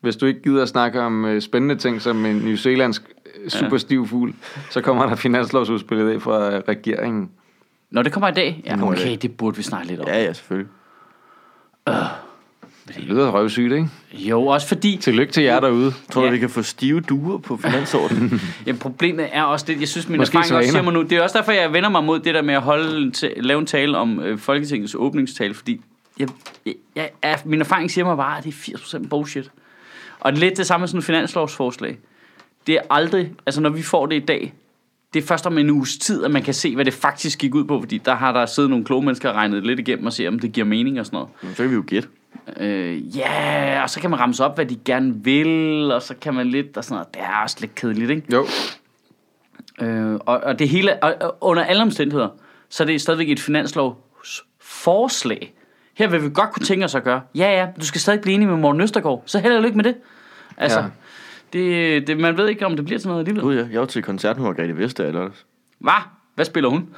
S2: Hvis du ikke gider at snakke om øh, spændende ting som en New Zealandsk øh, superstiv fugl, så kommer der finanslovsudspillet i dag fra øh, regeringen.
S1: Nå, det kommer i dag. Ja,
S3: kommer i
S1: okay,
S3: dag.
S1: det burde vi snakke lidt om.
S3: Ja, ja, selvfølgelig.
S2: Det lyder røvsygt, ikke?
S1: Jo, også fordi
S2: Tillykke til jer derude.
S3: Tror du,
S1: Ja.
S3: vi kan få stive duer på finansordenen?
S1: ja, problemet er også det, jeg synes, min
S2: Måske
S1: erfaring
S2: svaner.
S1: også siger mig nu, det er også derfor, jeg vender mig mod det der med at holde, en ta- lave en tale om øh, Folketingets åbningstale, fordi jeg, jeg, jeg, er- min erfaring siger mig bare, at det er 80% bullshit. Og lidt det samme med sådan et finanslovsforslag. Det er aldrig, altså når vi får det i dag, det er først om en uges tid, at man kan se, hvad det faktisk gik ud på, fordi der har der siddet nogle kloge mennesker og regnet lidt igennem og se, om det giver mening og sådan noget.
S3: Så kan vi jo gætte.
S1: Øh, ja, yeah, og så kan man ramse op, hvad de gerne vil, og så kan man lidt, og sådan noget. Det er også lidt kedeligt, ikke?
S2: Jo.
S1: Øh, og, og det hele, og, og under alle omstændigheder, så er det stadigvæk et finanslovsforslag. Her vil vi godt kunne tænke os at gøre. Ja, ja, du skal stadig blive enig med Morten Østergaard, så held og lykke med det. Altså,
S2: Ja.
S1: ja. det, det, man ved ikke, om det bliver til noget alligevel.
S3: Gud, ja. Jeg var til koncert med Margrethe Vestager i lørdags.
S1: Hvad? Hvad spiller hun?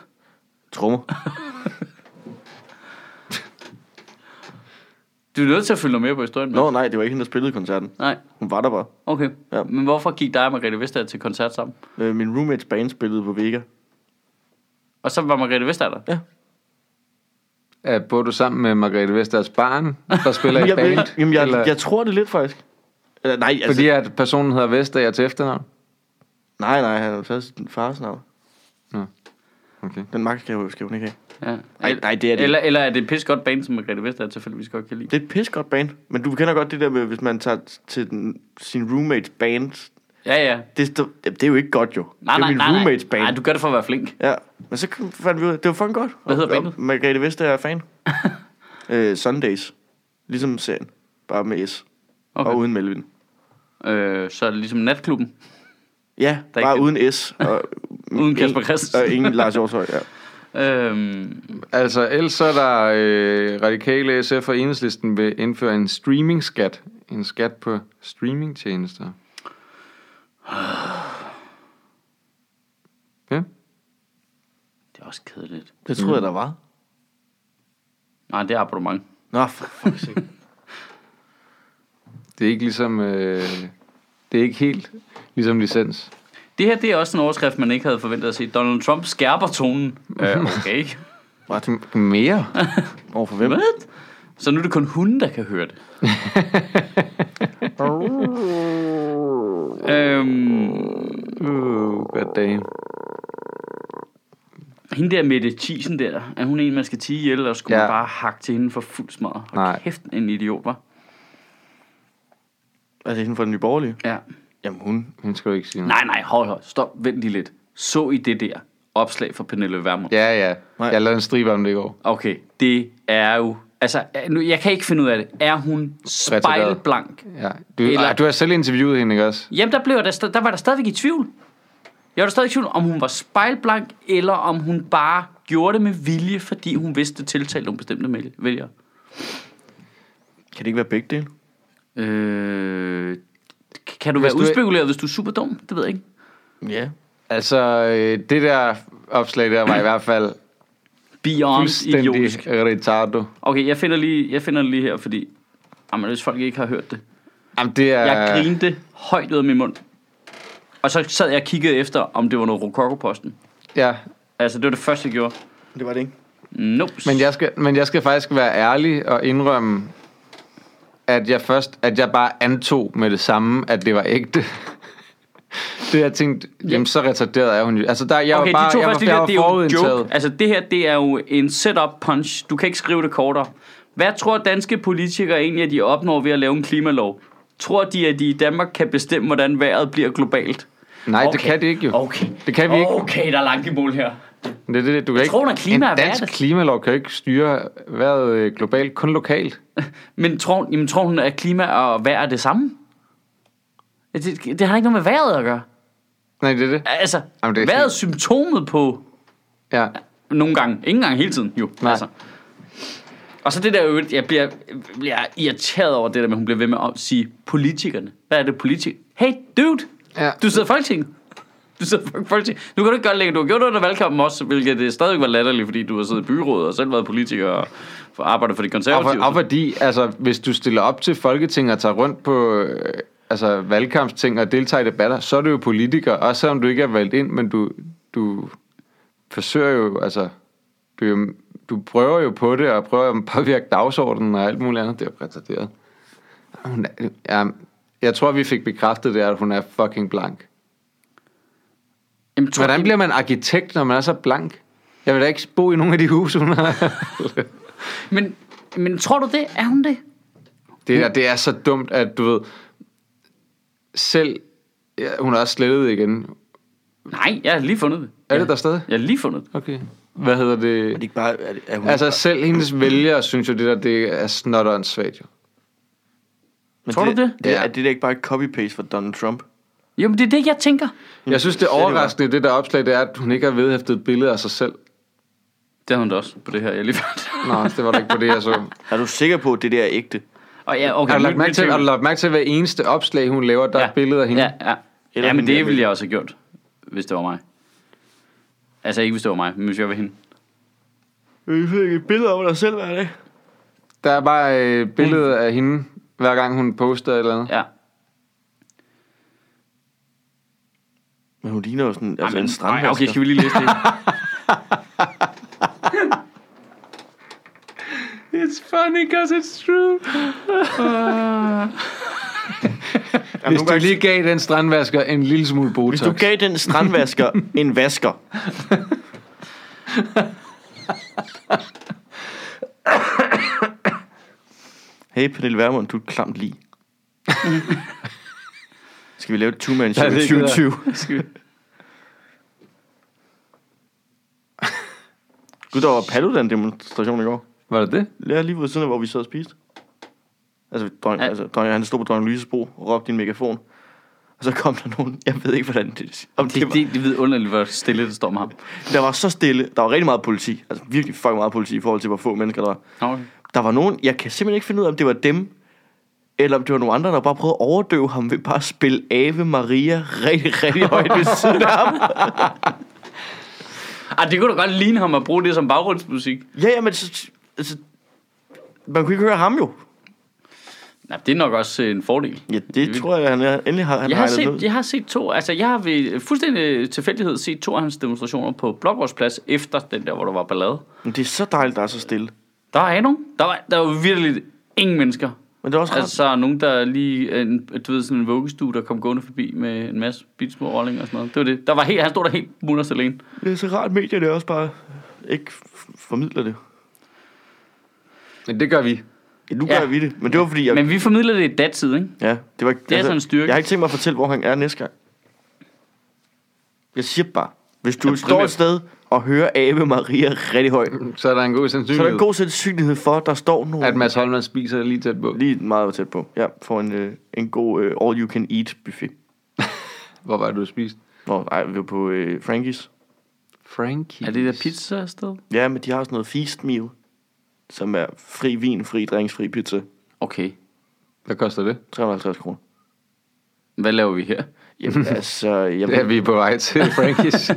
S3: Trummer.
S1: Du er nødt til at følge dig med på historien. mand.
S3: Nå, nej, det var ikke hende, der spillede i koncerten.
S1: Nej,
S3: Hun var der bare.
S1: okay.
S3: Ja.
S1: Ja. Men hvorfor gik dig og Margrethe Vestager til koncert sammen?
S3: Øh, min roommates band spillede på Vega.
S1: Og så var Margrethe Vestager der?
S2: Er, Øh, bor du sammen med Margrethe Vesters barn, der spiller i et
S3: [LAUGHS] Jeg,
S2: band?
S3: ved- jamen, jeg,
S2: eller,
S3: jeg tror det lidt, faktisk. Eller, nej, altså,
S2: fordi at personen hedder Vestager til efternavn?
S3: nej, nej, han har taget sin fars navn.
S2: Okay.
S3: Den magt skal, jeg- skal hun ikke have.
S1: Ja.
S3: Nej, nej, det er det.
S1: Eller, eller er det et pis godt band, som Margrethe Vestager tilfældigvis godt kan lide?
S3: Det er et pisgodt band. Men du kender godt det der med, hvis man tager til den, sin roommates band.
S1: Ja, ja.
S3: Det, det, det er jo ikke godt, jo.
S1: Nej,
S3: det er
S1: nej,
S3: min
S1: nej, nej.
S3: roommates band.
S1: Nej, du gør det for at være flink.
S3: Ja, men så kom- fandt vi ud af, det var fucking godt.
S1: Hvad hedder
S3: Og- og
S1: bandet?
S3: Margrethe Vestager er
S1: [LAUGHS]
S3: fan. øh, Sundays. Ligesom serien. Bare med S. Okay.
S1: Okay.
S3: Og uden Melvin.
S1: Øh, så er det ligesom natklubben.
S3: Ja,
S1: Der er
S3: bare
S1: ikke-
S3: uden S. Og,
S1: [LAUGHS] Uden Kasper
S3: ingen-
S1: Christensen.
S3: Og ingen Lars Hjortøj, ja.
S1: Øhm,
S2: Altså, ellers så er der øh, radikale SF og Enhedslisten vil indføre en streamingskat. En skat på streamingtjenester. Ja.
S1: det er også kedeligt.
S3: Det troede jeg, der var.
S1: Nej, det er abonnement.
S3: Nå, for fuck's sake.
S2: Det er ikke ligesom... Øh, det er ikke helt ligesom licens.
S1: Det her, det er også en overskrift, man ikke havde forventet at se. Donald Trump skærper tonen.
S3: [LAUGHS]
S1: Øh, okay.
S2: M- mere?
S3: Over for hvem?
S1: Hvad? Så nu er det kun hunden, der kan høre
S3: [LAUGHS]
S1: det. øhm,
S2: Uh, god dag.
S1: hende der Mette Thiesen der, er hun en, man skal tige ihjel, og skulle
S2: Ja.
S1: ja. man bare hakke til hende for fuld smadret? Hold
S2: Nej.
S1: kæft, en idiot, var.
S3: Altså hende fra den nye borgerlige?
S1: Ja.
S3: Jamen hun.
S2: Hun skal jo ikke sige noget.
S1: Nej, nej, hold, hold. Stop, vent lige lidt. Så I det der opslag fra Pernille Vermund? Ja.
S2: Ja, ja.
S3: Nej.
S2: Jeg lavede en stribe om det i går.
S1: Okay, det er jo... Altså, er- nu, jeg kan ikke finde ud af det. Er hun spejlblank?
S2: Ja. Du,
S1: Eller-
S2: Eller... du har selv interviewet hende, ikke også?
S1: Jamen, der, blev jeg da, sta- der var der stadigvæk i tvivl. Jeg var da stadig i tvivl, om hun var spejlblank, eller om hun bare gjorde det med vilje, fordi hun vidste det tiltalte nogle bestemte mæl- vælgere.
S3: Kan det ikke være begge dele?
S1: Øh, k- kan du
S2: Hvis
S1: være
S2: du er-
S1: udspekuleret, hvis du er super dum? Det ved jeg ikke.
S3: Ja.
S2: Altså, øh, det der opslag der var i hvert
S1: [CLEARS THROAT]
S2: fald
S1: Beyond
S2: fuldstændig
S1: idiotisk.
S2: retardo.
S1: Okay, jeg finder lige, jeg finder det lige her, fordi... Jamen, hvis folk ikke har hørt det.
S2: Jamen, det er...
S1: Jeg grinte højt ud af min mund. Og så sad jeg og kiggede efter, om det var noget rokokoposten.
S2: Ja,
S1: Altså, det var det første, jeg gjorde.
S3: Det var det ikke.
S1: Nope.
S2: men jeg, skal, men jeg skal faktisk være ærlig og indrømme, at jeg først, at jeg bare antog med det samme, at det var ægte. [LAUGHS] det jeg tænkte, jamen så retarderet er hun jo. Altså der, jeg
S1: okay,
S2: var bare,
S1: de to
S2: jeg, var,
S1: første
S2: jeg
S1: linjer,
S2: var
S1: det er jo en joke.
S2: forudindtaget.
S1: Altså, det her, det er jo en setup punch. Du kan ikke skrive det kortere. Hvad tror danske politikere egentlig, at de opnår ved at lave en klimalov? Tror de, at de i Danmark kan bestemme, hvordan vejret bliver globalt?
S2: Nej, det kan de ikke jo.
S1: Okay.
S2: Det kan vi ikke.
S1: Okay, der er langt i mål her.
S2: Det, er det, det, du kan ikke,
S1: tror, når klima er
S2: en dansk
S1: hverdag.
S2: klimalov kan jo ikke styre vejret øh, globalt, kun lokalt.
S1: Men tror, jamen, tror hun, at klima og vejr er det samme? Det, det har ikke noget med vejret at gøre.
S2: Nej, det er det.
S1: Altså,
S2: Jamen, det er
S1: hvad er
S2: fint.
S1: symptomet på
S2: Ja.
S1: nogle gange? Ingen gang hele tiden, jo.
S2: Nej.
S1: Altså. Og så det der jo, jeg bliver, bliver irriteret over det der med, at hun bliver ved med at sige politikerne. Hvad er det politik? Hey, dude!
S2: Ja.
S1: Du sidder i Folketinget. Du sidder i Folketinget. Nu kan du ikke gøre det længere. Du har gjort det under valgkampen også, hvilket det stadigvæk var latterligt, fordi du har siddet i byrådet og selv været politiker og for- arbejdet for de
S2: Og, for,
S1: konservative.
S2: og fordi, altså, hvis du stiller op til Folketinget og tager rundt på øh, altså, valgkampsting og deltager i debatter, så er du jo politiker, også selvom du ikke er valgt ind, men du, du forsøger jo, altså, du, er jo- du prøver jo på det, og prøver at påvirke dagsordenen og alt muligt andet. Det er jo retarderet. Hun er, ja, jeg tror, vi fik bekræftet det, at hun er fucking blank.
S1: Jamen, tror
S2: Hvordan
S1: I-
S2: bliver man arkitekt, når man er så blank? Jeg vil da ikke bo i nogle af de huse, hun har.
S1: men, men tror du det? Er hun det?
S2: Det, der, det er så dumt, at du ved, selv Ja, hun er også slettet igen.
S1: Nej, jeg har lige fundet det.
S2: Er det der stadig?
S1: Jeg har lige fundet det.
S2: Okay. Hvad hedder det?
S3: Er det ikke bare... Er, det- er hun
S2: Altså selv hendes vælgere synes jo, det der det er snot svagt jo.
S3: men
S1: tror
S3: det,
S1: du det?
S3: det
S2: Ja.
S3: Er det der ikke bare et copy-paste fra Donald Trump?
S1: Jo, men det er det, jeg tænker.
S2: Jeg synes, det er overraskende, det der opslag, det er, at hun ikke har vedhæftet et billede af sig selv.
S1: Det havde hun da også på det her, jeg lige fandt.
S2: Nå, altså, det var da ikke på det, jeg [LAUGHS] så.
S3: Er du sikker på, at det der er ægte?
S1: Og ja, okay,
S2: Har du lagt
S1: mit-
S2: mærke
S1: mit
S2: til,
S1: tvivl-
S2: har du lagt mærke til at hver eneste opslag, hun laver, der ja. er et billede af hende?
S1: Ja, ja.
S3: Eller
S1: ja men
S3: hende der
S1: det ville
S3: med-
S1: jeg også have gjort, hvis det var mig. Altså ikke hvis det var mig, men hvis jeg var hende.
S3: Vi fik et billede af dig selv hver dag.
S2: Der er bare øh, et billede af hende, hver gang hun poster et eller andet.
S1: Ja.
S3: Altså, Men hun ligner jo sådan altså
S1: Ej,
S3: en
S1: men-
S3: strandvasker.
S1: ej, Okay, skal vi lige læse det?
S3: [LAUGHS]
S1: It's funny because it's true.
S2: Hvis du lige gav den strandvasker en lille smule Botox.
S3: Hvis du gav den [LAUGHS] strandvasker en vasker. Hey, Pernille Vermund, du er et klamt [LAUGHS] lige. Skal vi lave et two-man show
S2: Ja,
S3: i
S2: det gider jeg.
S3: 2020?
S1: Skal vi-
S3: Gud, der var Paludan-demonstration i går.
S2: Var det det?
S3: Det er lige ved siden af, hvor vi sad og spiste. Altså, drøn,
S1: Ja.
S3: altså drøn, han stod på dronning Lyses bro og råbte i en megafon. Og så kom der nogen, jeg ved ikke, hvordan det, om det,
S1: Det,
S3: var.
S1: det, det ved underligt, hvor stille det står med ham.
S3: Der var så stille. Der var rigtig meget politi. Altså virkelig fucking meget politi i forhold til, hvor få mennesker der var.
S1: Nå, okay.
S3: Der var nogen, jeg kan simpelthen ikke finde ud af, om det var dem, eller om det var nogle andre, der bare prøvede at overdøve ham ved bare at spille Ave Maria rigtig, rigtig
S1: [LAUGHS]
S3: højt ved siden af ham.
S1: Ej, det kunne da godt ligne ham at bruge det som baggrundsmusik.
S3: Ja, ja, men så, altså, man kunne ikke høre ham jo.
S1: Nej, det er nok også øh, en fordel.
S3: Ja, det tror jeg, han er, endelig har han
S1: Jeg har,
S3: regnet ned.
S1: set, jeg har set to, altså jeg har ved fuldstændig øh, tilfældighed set to af hans demonstrationer på Blågårdsplads efter den der, hvor der var ballade.
S3: Men det er så dejligt, der er så stille.
S1: Der var ikke nogen. Der var, der var virkelig ingen mennesker.
S3: Men det er også altså,
S1: Altså, så er nogen, der lige, øh, en, du ved, sådan en vuggestue, der kom gående forbi med en masse bitte små rollinger og sådan noget. Det var det. Der var helt, han stod der helt mutters alene.
S3: Det er så rart, at medierne også bare ikke f- formidler det.
S2: Men det gør vi.
S3: Ja, nu
S1: Ja.
S3: gør ja. vi det, men det var fordi, jeg...
S1: Men vi formidler det i datid, ikke?
S3: ja, det, var, det
S1: er sådan en styrke.
S3: Jeg har ikke tænkt mig at fortælle, hvor han er næste gang. Jeg siger bare, hvis du
S1: Ja,
S3: ja, står
S1: primært.
S3: et sted og hører Ave Maria rigtig højt,
S2: Så er der en god
S3: så er der
S2: sandsynlighed,
S3: en god sandsynlighed for, at der står nogen
S2: at Mads Holman spiser lige tæt på.
S3: lige meget tæt på. Ja, for en, øh, en god øh, all-you-can-eat buffet.
S2: Hvor var det, du spiste?
S3: Nå, nej, vi var på øh, Frankies.
S2: Frankie.
S1: Er det der pizza sted?
S3: Ja, men de har sådan noget feast meal, som er fri vin, fri drinks, fri pizza.
S1: Okay.
S2: Hvad koster det?
S3: 350 kroner.
S1: Hvad laver vi her?
S2: [LAUGHS]
S3: Jamen, altså, jeg
S2: Det er vi på vej til, [LAUGHS] Frankies.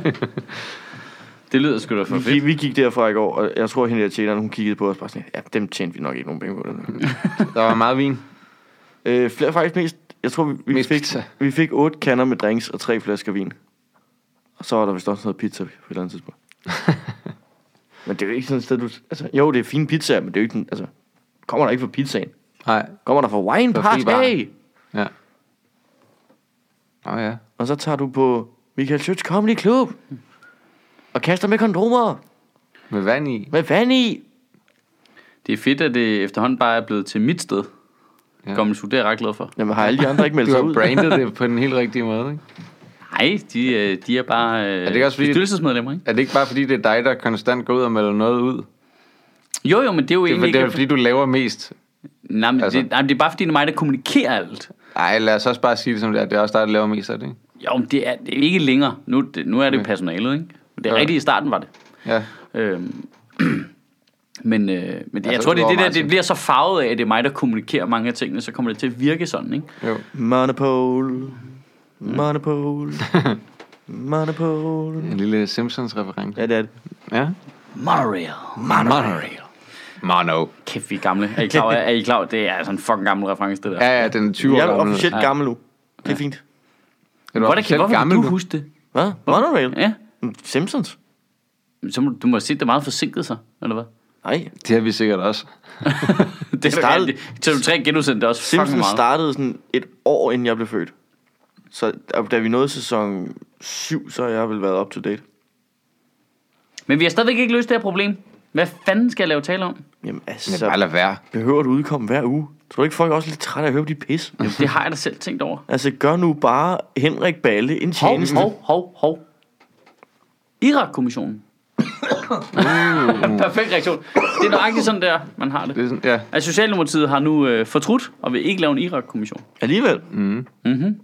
S1: Det lyder sgu da for
S3: Vi,
S1: fedt.
S3: vi gik derfra i går, og jeg tror, at hende der tjeneren, hun kiggede på os bare sådan, ja, dem tjente vi nok ikke nogen penge på.
S2: der var meget vin.
S3: øh, flere, faktisk mest, jeg tror, vi, vi,
S2: Mest
S3: fik,
S2: pizza.
S3: vi fik otte kander med drinks og tre flasker vin. Og så var der vist også noget pizza på et eller andet
S2: [LAUGHS]
S3: tidspunkt. men det er jo ikke sådan et sted, du... Altså, jo, det er fine pizza, men det er jo ikke den... Altså, kommer der ikke fra pizzaen?
S2: Nej.
S3: Kommer der fra wine
S2: Fra fri
S3: party?
S2: Ja. Åh oh, ja.
S3: Og så tager du på Michael Schütz Comedy Club. Og kaster med kondomer.
S2: Med vand i.
S3: Med vand i.
S1: Det er fedt, at det efterhånden bare er blevet til mit sted.
S2: Ja.
S1: Ja. Gammel Su, det er jeg ret glad for.
S3: Jamen, har alle de andre ikke meldt
S2: Du
S3: sig
S2: har
S3: ud?
S2: brandet det på den helt rigtige måde, ikke?
S1: Nej, de, øh, de er bare øh, er
S2: det ikke også fordi-
S1: bestyrelsesmedlemmer, ikke?
S2: Er det ikke bare fordi, det er dig, der konstant går ud og melder noget ud?
S1: Jo, jo, men det er jo
S2: Det er,
S1: egentlig
S2: det er jo
S1: ikke...
S2: fordi, du laver mest.
S1: Nej, men
S2: altså-
S1: det, nej, men det er bare fordi, det er mig, der kommunikerer alt.
S2: Nej, lad os også bare sige det som det er. Det er også dig, der laver mest af det, ikke?
S1: Jo, men det er, det er ikke længere. Nu, det, nu er det jo personalet, ikke? Det
S2: Ja.
S1: er rigtigt, i starten var det.
S2: Ja.
S1: Øhm, [CLEARS THROAT] øh,
S3: [LAUGHS]
S1: altså
S3: Mm, altså, Tror du ikke, folk er også lidt trætte af at høre på dit pis?
S1: Jamen, det har jeg da selv tænkt over.
S3: Altså, gør nu bare Henrik Balle en
S1: Hov,
S3: tjeneste.
S1: hov, hov, hov. Irak-kommissionen.
S2: Uh.
S1: [LAUGHS] Perfekt reaktion. Det er nøjagtigt sådan der, man har det.
S2: Det er sådan, ja.
S1: Altså, Socialdemokratiet har nu øh, fortrudt og vil ikke lave en Irak-kommission.
S3: Alligevel. Mm. Mm-hmm.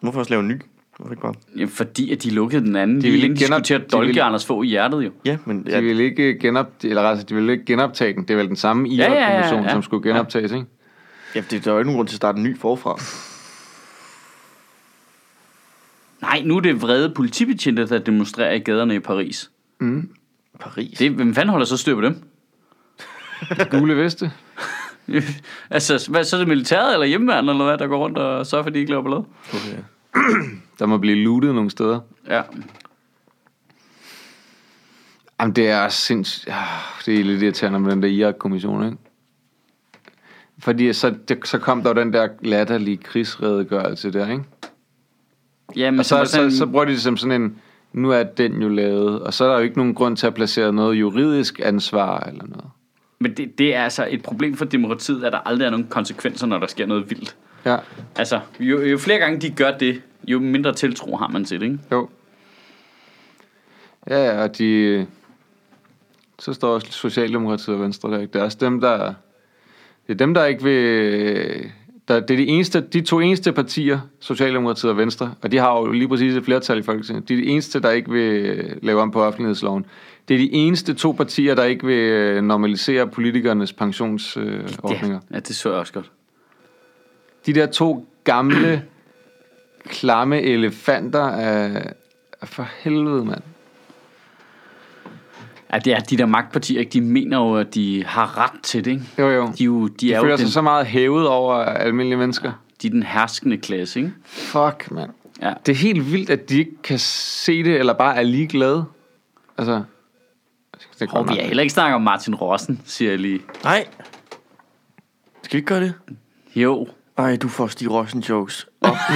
S3: Hvorfor også lave en ny? Hvorfor ikke bare?
S1: Ja, fordi at de lukkede den anden. De
S2: ville
S1: ville
S2: ikke
S1: ikke de skulle
S2: genop-
S1: til at
S2: de
S1: dolke
S2: ville-
S1: Anders Fogh i hjertet, jo.
S3: Ja, men
S2: De
S3: ja,
S2: vil ikke, genop, eller altså, de vil ikke genoptage den. Det er vel den samme
S1: ja, ja,
S2: Irak-kommission, ja, ja,
S1: ja.
S2: ja. som skulle genoptages, ikke?
S3: ja, det, der er jo ikke nogen grund til at starte en ny forfra.
S1: Nej, nu er det vrede politibetjente, der demonstrerer i gaderne i Paris.
S3: Paris.
S1: Det, hvem fanden holder så styr på dem? [LAUGHS]
S2: Gule veste.
S1: altså, hvad, så er det militæret eller hjemmeværende, eller hvad, der går rundt og sørger for, at de ikke laver ballade?
S3: Okay.
S2: Der må blive lootet nogle steder.
S1: Ja.
S2: Jamen, det er sindssygt... Det er lidt irriterende med den der Irak-kommission, ikke? Fordi så, det, så kom der jo den der latterlige krigsredegørelse der, ikke?
S1: ja men
S2: Og så,
S1: sådan,
S2: så, så bruger de det som sådan en... Nu er den jo lavet, og så er der jo ikke nogen grund til at placere noget juridisk ansvar eller noget.
S1: Men det, det er altså et problem for demokratiet, at der aldrig er nogen konsekvenser, når der sker noget vildt.
S2: Ja,
S1: Altså, jo, jo flere gange de gør det, jo mindre tiltro har man til det, ikke?
S2: jo. Ja, ja, og de... Så står også Socialdemokratiet og Venstre der, ikke? Det er også dem, der... Det er dem, der ikke vil... Der, det er de, eneste, de to eneste partier, Socialdemokratiet og Venstre, og de har jo lige præcis et flertal i Folketinget. De er de eneste, der ikke vil øh, lave om på offentlighedsloven. Det er de eneste to partier, der ikke vil øh, normalisere politikernes pensionsordninger.
S1: Ja, ja, det så jeg også godt.
S2: de der to gamle, klamme elefanter af... af For helvede, mand.
S1: Ja, det er de der magtpartier, ikke? De mener jo, at de har ret til det, ikke?
S2: Jo, jo.
S1: De, er jo, de,
S2: De
S1: er
S2: føler
S1: jo
S2: sig
S1: den,
S2: så meget hævet over almindelige mennesker.
S1: de er den herskende klasse, ikke?
S2: Fuck, mand.
S1: Ja.
S2: Det er helt vildt, at de ikke kan se det, eller bare er ligeglade. Altså... Det er
S1: Og
S2: godt
S1: vi har
S2: nok.
S1: heller ikke snakket om Martin Rossen, siger jeg lige.
S3: Nej. Skal vi ikke gøre det?
S1: Jo,
S3: Ej, du får Stig Rossen jokes. [LAUGHS] Op i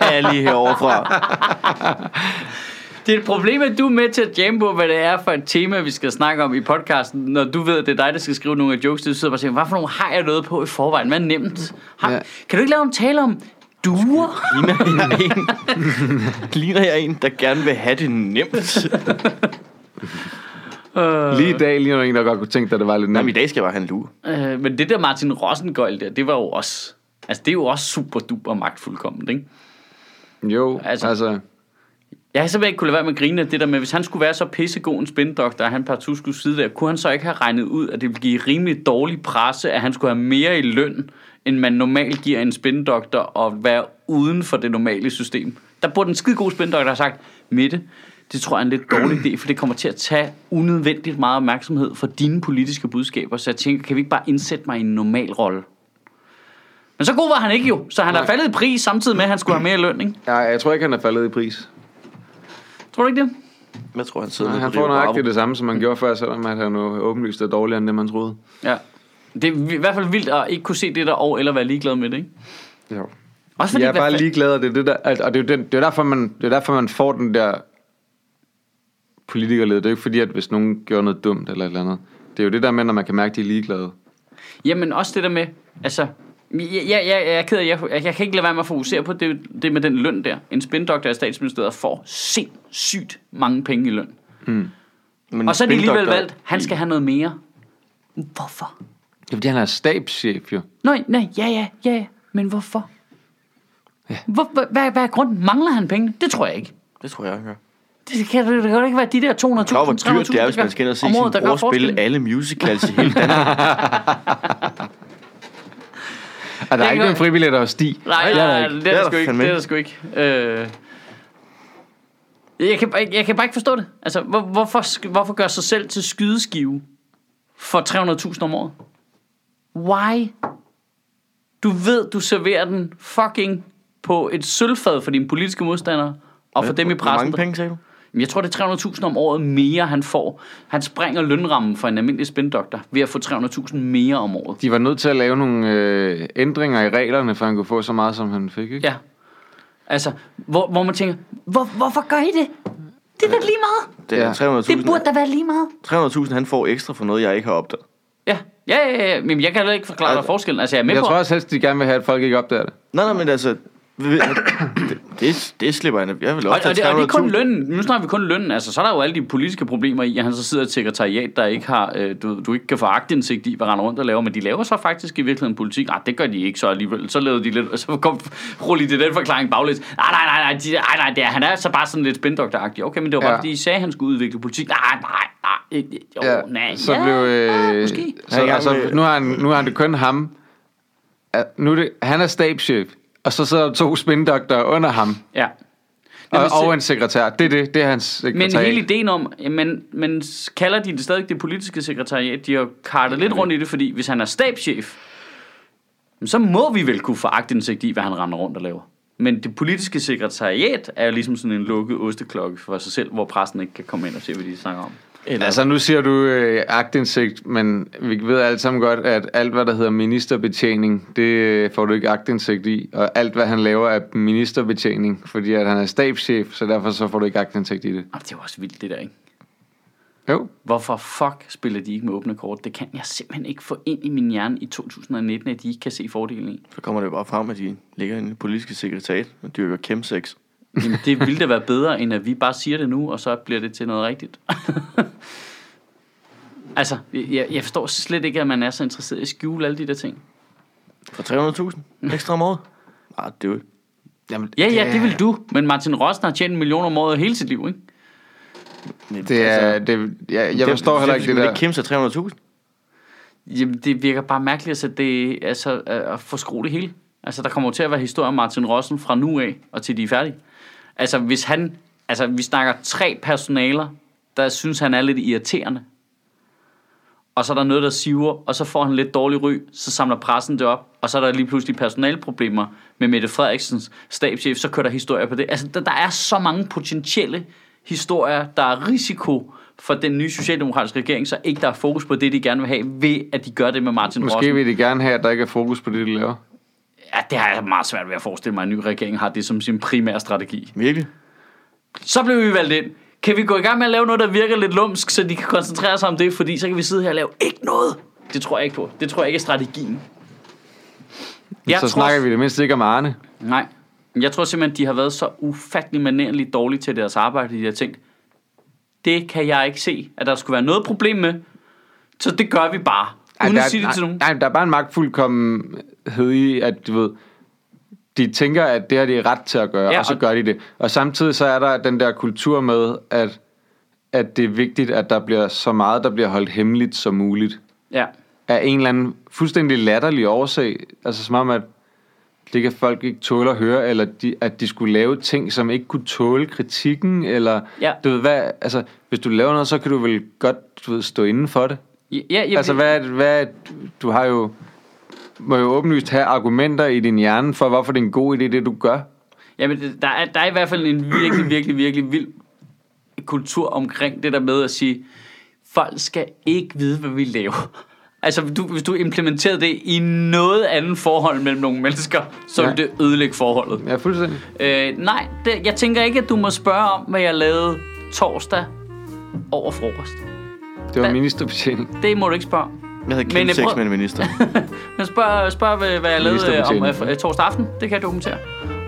S3: alle herovre fra. [LAUGHS]
S1: Det er et problem, at du er med til at jamme på, hvad det er for et tema, vi skal snakke om i podcasten, når du ved, at det er dig, der skal skrive nogle af jokes. Du sidder bare og siger, hvad for nogle har jeg noget på i forvejen? Hvad er nemt? Har,
S2: Ja.
S1: Kan du ikke lave en tale om duer?
S3: Ligner jeg en, ligner jeg en der gerne vil have det nemt?
S2: Lige i dag, lige når en, der godt kunne tænke, at det var lidt
S3: Jamen, i
S2: nemt.
S3: dag skal jeg bare have en lue.
S1: Øh, men det der Martin Rossengøjl der, det var jo også... Altså, det er jo også super duper magtfuldkommen, ikke?
S2: Jo,
S1: Altså-
S2: altså... altså
S1: Jeg har simpelthen ikke kunne lade være med at grine af det der med, hvis han skulle være så pissegod en spindoktor, at han partout skulle sidde der, kunne han så ikke have regnet ud, at det ville give rimelig dårlig presse, at han skulle have mere i løn, end man normalt giver en spindoktor og være uden for det normale system. Der burde en skide god spindoktor have sagt, Mette, det tror jeg er en lidt dårlig idé, for det kommer til at tage unødvendigt meget opmærksomhed fra dine politiske budskaber, så jeg tænker, kan vi ikke bare indsætte mig i en normal rolle? Men så god var han ikke jo, så han er faldet i pris samtidig med, at han skulle have mere i løn, ikke?
S2: jeg, jeg tror ikke, han er faldet i pris.
S1: Tror du ikke det?
S3: Jeg tror, han sidder
S2: Nej,
S3: nede
S2: han
S3: på Rio
S2: får nøjagtigt
S3: Bravo.
S2: det samme, som han gjorde før, selvom at han jo åbenlyst er dårligere end det, man troede.
S1: Ja. Det er i hvert fald vildt at ikke kunne se det der år, eller være ligeglad med det, ikke?
S2: Jo.
S1: Også
S2: Jeg er
S1: hvad
S2: bare
S1: fa-
S2: ligeglad, og det er, det der, altså, og det er, jo den, det er derfor, man, det er derfor, man får den der politikerled. Det er jo ikke fordi, at hvis nogen gør noget dumt eller et eller andet. Det er jo det der med, når man kan mærke, at de er ligeglade.
S1: Jamen også det der med, altså... Jeg, jeg, jeg, jeg er ked af, jeg, jeg, jeg kan ikke lade være med at fokusere på det, det med den løn der. En spindoktor i statsministeriet får sindssygt mange penge i løn.
S3: Men
S1: Og så er de alligevel
S3: spindoktor-
S1: valgt, han skal have noget mere. Hvorfor?
S2: Det er fordi, han er stabschef jo.
S1: Nej, nej, ja, ja, ja, ja. men hvorfor? Hvor, hvad, hvad, hvad er grunden? Mangler han pengene? Det tror jeg ikke.
S3: Det tror jeg, han gør.
S1: Det kan, det kan jo ikke være de der 200.000, 300.000,
S3: Klar, hvor dyrt det er, hvis man skal ind og se sin bror spille alle musicals i hele Danmark.
S2: Og der er
S1: kan
S2: ikke
S1: godt-
S2: nogen fribilletter hos Stig.
S1: Nej,
S2: Det er der
S1: nej, nej,
S2: ikke.
S1: det er der sgu ikke.
S3: fandme
S1: Det er der sgu ikke. Øh, jeg, kan, bare ikke- jeg kan bare ikke forstå det. Altså, hvor, hvorfor, sk- hvorfor gør sig selv til skydeskive for 300.000 om året? Why? Du ved, du serverer den fucking på et sølvfad for dine politiske modstandere og for dem i
S3: Hvor
S1: pressen.
S3: mange penge, sagde du?
S1: Men Jeg tror, det er 300.000 om året mere, han får. Han springer lønrammen for en almindelig spindoktor ved at få 300.000 mere om året.
S2: De var nødt til at lave nogle øh, ændringer i reglerne, for han kunne få så meget, som han fik. Ikke?
S1: Ja. Altså, hvor, hvor man tænker, hvor, hvorfor gør I det? Det er da lige meget.
S3: Det er
S2: Ja.
S4: Det burde
S3: 300.000.
S4: da være lige meget.
S3: 300.000, han får ekstra for noget, jeg ikke har opdaget.
S1: Ja, ja, ja, ja. Men jeg kan heller ikke forklare dig
S3: Altså,
S1: forskellen. Altså, jeg er med
S2: Jeg
S1: på...
S2: tror også helst, de gerne vil have, at folk ikke opdager det.
S3: Nej, nej, men altså... ved- Det, det, det slipper han. Jeg vil
S1: og,
S3: også
S1: og, det, og det er kun
S3: 300.000.
S1: lønnen. Nu snakker vi kun lønnen. Altså, så er der jo alle de politiske problemer i, at han så sidder i et sekretariat, der ikke har, øh, du, ved, du ikke kan få agtindsigt i, hvad render rundt og laver. Men de laver så faktisk i virkeligheden politik. Nej, det gør de ikke så alligevel. Så lavede de lidt, og så kom rulle de den forklaring baglæns. Nej, nej, nej, nej, de, nej, nej det er, han er så bare sådan lidt spindokteragtig. Okay, men det var bare,
S2: Ja.
S1: fordi I sagde, at han skulle udvikle politik. Nej, nej, nej. Ikke, jo, nej.
S2: så
S1: ja,
S2: blev... Øh,
S1: ja, måske.
S2: Så,
S3: Han er i gang
S2: altså,
S3: med-
S2: nu, har han, nu har han det kun ham. Ja, Nu er det, han er stabschef, og så sidder der to spindoktorer under ham.
S1: Ja. Men
S2: Og,
S1: hvis det-
S2: og en sekretær. Det er det. Det er hans sekretær.
S1: Men hele ideen om, men, men kalder de det stadig det politiske sekretariat, de har kartet lidt rundt i det, fordi hvis han er stabschef, jamen så må vi vel kunne få agtindsigt i, hvad han render rundt og laver. Men det politiske sekretariat er jo ligesom sådan en lukket osteklokke for sig selv, hvor præsten ikke kan komme ind og se, hvad de snakker om.
S3: Eller, altså,
S2: Altså, nu siger du øh, agtindsigt, men vi ved alle sammen godt, at alt, hvad der hedder ministerbetjening, det øh, får du ikke agtindsigt i. Og alt, hvad han laver, er ministerbetjening, fordi at han er stabschef, så derfor så får du ikke agtindsigt i det.
S1: Og det er jo også vildt, det der, ikke?
S2: Jo.
S1: Hvorfor fuck spiller de ikke med åbne kort? Det kan jeg simpelthen ikke få ind i min hjerne i 2019, at de ikke kan se fordelen i.
S3: så kommer det bare frem, at de ligger inde i det politiske sekretariat og dyrker chemsex.
S1: Jamen, det ville da være bedre, end at vi bare siger det nu, og så bliver det til noget rigtigt. [LAUGHS] altså, jeg, jeg forstår slet ikke, at man er så interesseret i at skjule alle de der ting.
S3: For 300.000 ekstra om året? Nej, det er jo
S2: Jamen,
S1: Ja, ja, det vil du. Men Martin Rosten har tjent en million om året hele sit liv, ikke?
S2: Det er, Altså, det, ja, jeg forstår heller ikke det der.
S3: altså, Det Kims er 300.000.
S1: Jamen, det virker bare mærkeligt at, sætte det, altså, at forskrue det hele. Altså, der kommer jo til at være historie om Martin Rossen fra nu af, og til de er færdige. Altså, hvis han... Altså, vi snakker tre personaler, der synes, han er lidt irriterende. Og så er der noget, der siver, og så får han lidt dårlig ry, så samler pressen det op, og så er der lige pludselig personalproblemer med Mette Frederiksens stabschef, så kører der historier på det. Altså, der, der er så mange potentielle historier, der er risiko for den nye socialdemokratiske regering, så ikke der er fokus på det, de gerne vil have, ved at de gør det med Martin Rossen.
S2: Måske vil de gerne have, at der ikke er fokus på det, de laver.
S1: Ja, det har jeg meget svært ved at forestille mig, at en ny regering har det som sin primære strategi.
S3: Virkelig?
S1: Så blev vi valgt ind. Kan vi gå i gang med at lave noget, der virker lidt lumsk, så de kan koncentrere sig om det, fordi så kan vi sidde her og lave ikke noget. Det tror jeg ikke på. Det tror jeg ikke er strategien.
S2: Jeg så tror... snakker vi det mindst ikke om Arne.
S1: Nej. Jeg tror simpelthen, de har været så ufattelig manerligt dårlige til deres arbejde, at de har tænkt, det kan jeg ikke se, at der skulle være noget problem med. Så det gør vi bare. Uden
S2: der,
S1: at sige det til nogen.
S2: Nej, der er bare en magtfuldkommenhed i, at du ved, de tænker, at det har de ret til at gøre,
S1: Ja,
S2: ja, og så
S1: og-
S2: gør de det. Og samtidig så er der den der kultur med, at, at det er vigtigt, at der bliver så meget, der bliver holdt hemmeligt som muligt.
S1: Ja.
S2: Af en eller anden fuldstændig latterlig årsag. Altså som om, at det kan folk ikke tåle at høre, eller de, at de skulle lave ting, som ikke kunne tåle kritikken, eller
S1: Ja.
S2: du ved hvad, altså hvis du laver noget, så kan du vel godt du ved, stå inden for det.
S1: Ja, ja,
S2: Jamen, altså, hvad, er det- hvad, er det- du har jo, må jo åbenlyst have argumenter i din hjerne for, hvorfor det er en god idé, det du gør.
S1: Jamen, det- der er, der er i hvert fald en virkelig, virkelig, virkelig vild kultur omkring det der med at sige, folk skal ikke vide, hvad vi laver. Altså, du, hvis du implementerede det i noget andet forhold mellem nogle mennesker, så
S2: Ja.
S1: ville det ødelægge forholdet.
S2: Ja, fuldstændig.
S1: Øh, nej, det, jeg tænker ikke, at du må spørge om, hvad jeg lavede torsdag over frokost.
S2: Det var
S1: Hvad-
S2: ministerbetjening.
S1: Det må du ikke spørge om.
S3: Jeg havde
S1: Men, øh,
S3: chemsex
S1: prøv-
S3: med en minister.
S1: Men spørg, spørg hvad, hvad jeg lavede øh, om
S2: Ministerbetjening.
S1: øh, fr- øh, torsdag aften. Det kan jeg dokumentere.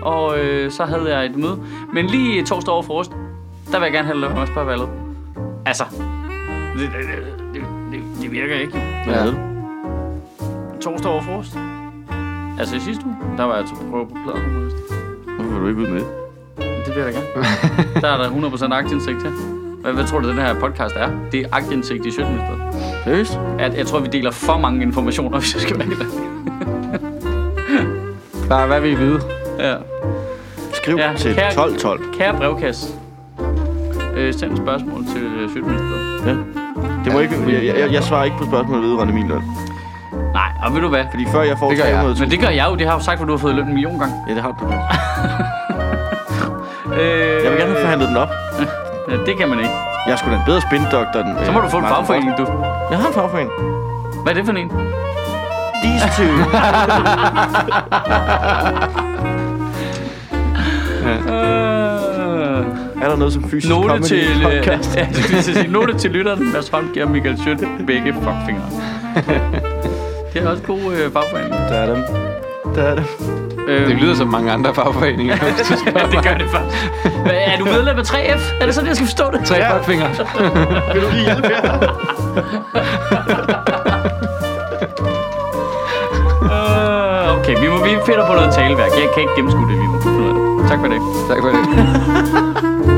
S1: Og øh, så havde jeg et møde. Men lige torsdag over frokost, der vil jeg gerne have lov at spørge, hvad jeg lavede. Altså, det, det, det, det, det virker ikke.
S3: Hvad
S2: Ja.
S3: havde du?
S1: Torsdag over frokost. Altså i sidste uge, der var jeg til prøve på pladen.
S3: Hvorfor var du ikke ud med det?
S1: Det vil jeg da gerne. [LAUGHS] Der er der 100% aktindsigt til. Hvad, hvad tror du, den her podcast er? Det er aktindsigt i 17
S3: Seriøst?
S1: jeg, jeg tror, vi deler for mange informationer, [LAUGHS] hvis jeg skal være helt ærlig.
S2: Bare hvad vil I vide?
S1: Ja.
S3: Skriv
S1: Ja,
S3: ja, til
S1: kære-
S3: 1212.
S1: Kære brevkasse, øh, send et spørgsmål til øh, Sjøtministeriet.
S3: Ja. Det må ikke, jeg, jeg, jeg, jeg svarer ikke på spørgsmål vedrørende min løn.
S1: Nej, og ved du hvad?
S3: Fordi før jeg får
S2: Det gør jeg.
S3: 300.000...
S1: Men det gør jeg jo. Det har jeg jo sagt, for du har fået løn en million gange.
S3: Ja, det har du.
S1: Øh,
S3: Jeg vil gerne have forhandlet den op.
S1: ja, det kan man ikke.
S3: Jeg er sgu da en bedre spindoktor end...
S1: Så må du få en fagforening, du.
S3: Jeg har en fagforening.
S1: Hvad er det for en?
S3: These two. [LAUGHS]
S1: Øh,
S3: er der noget som fysisk
S1: note
S3: comedy
S1: til, øh,
S3: i
S1: [LAUGHS]
S3: podcast? [LAUGHS]
S1: ja, jeg skulle til at sige, note til lytteren. Mads Holm giver Michael Sjøt begge fuckfingre. Det er også god øh, fagforening.
S3: Der er dem. Der er dem.
S1: Øhm,
S2: Det lyder som mange andre fagforeninger.
S1: ja, det gør det faktisk. Hvad, Er du medlem af 3F? Er det sådan, jeg skal forstå det?
S2: Tre ja. fuckfingre.
S3: Vil du lige hjælpe jer?
S1: Øh, okay, vi, må, vi finder på noget taleværk. Jeg kan ikke gennemskue det lige nu. Tak for det.
S2: Tak for det.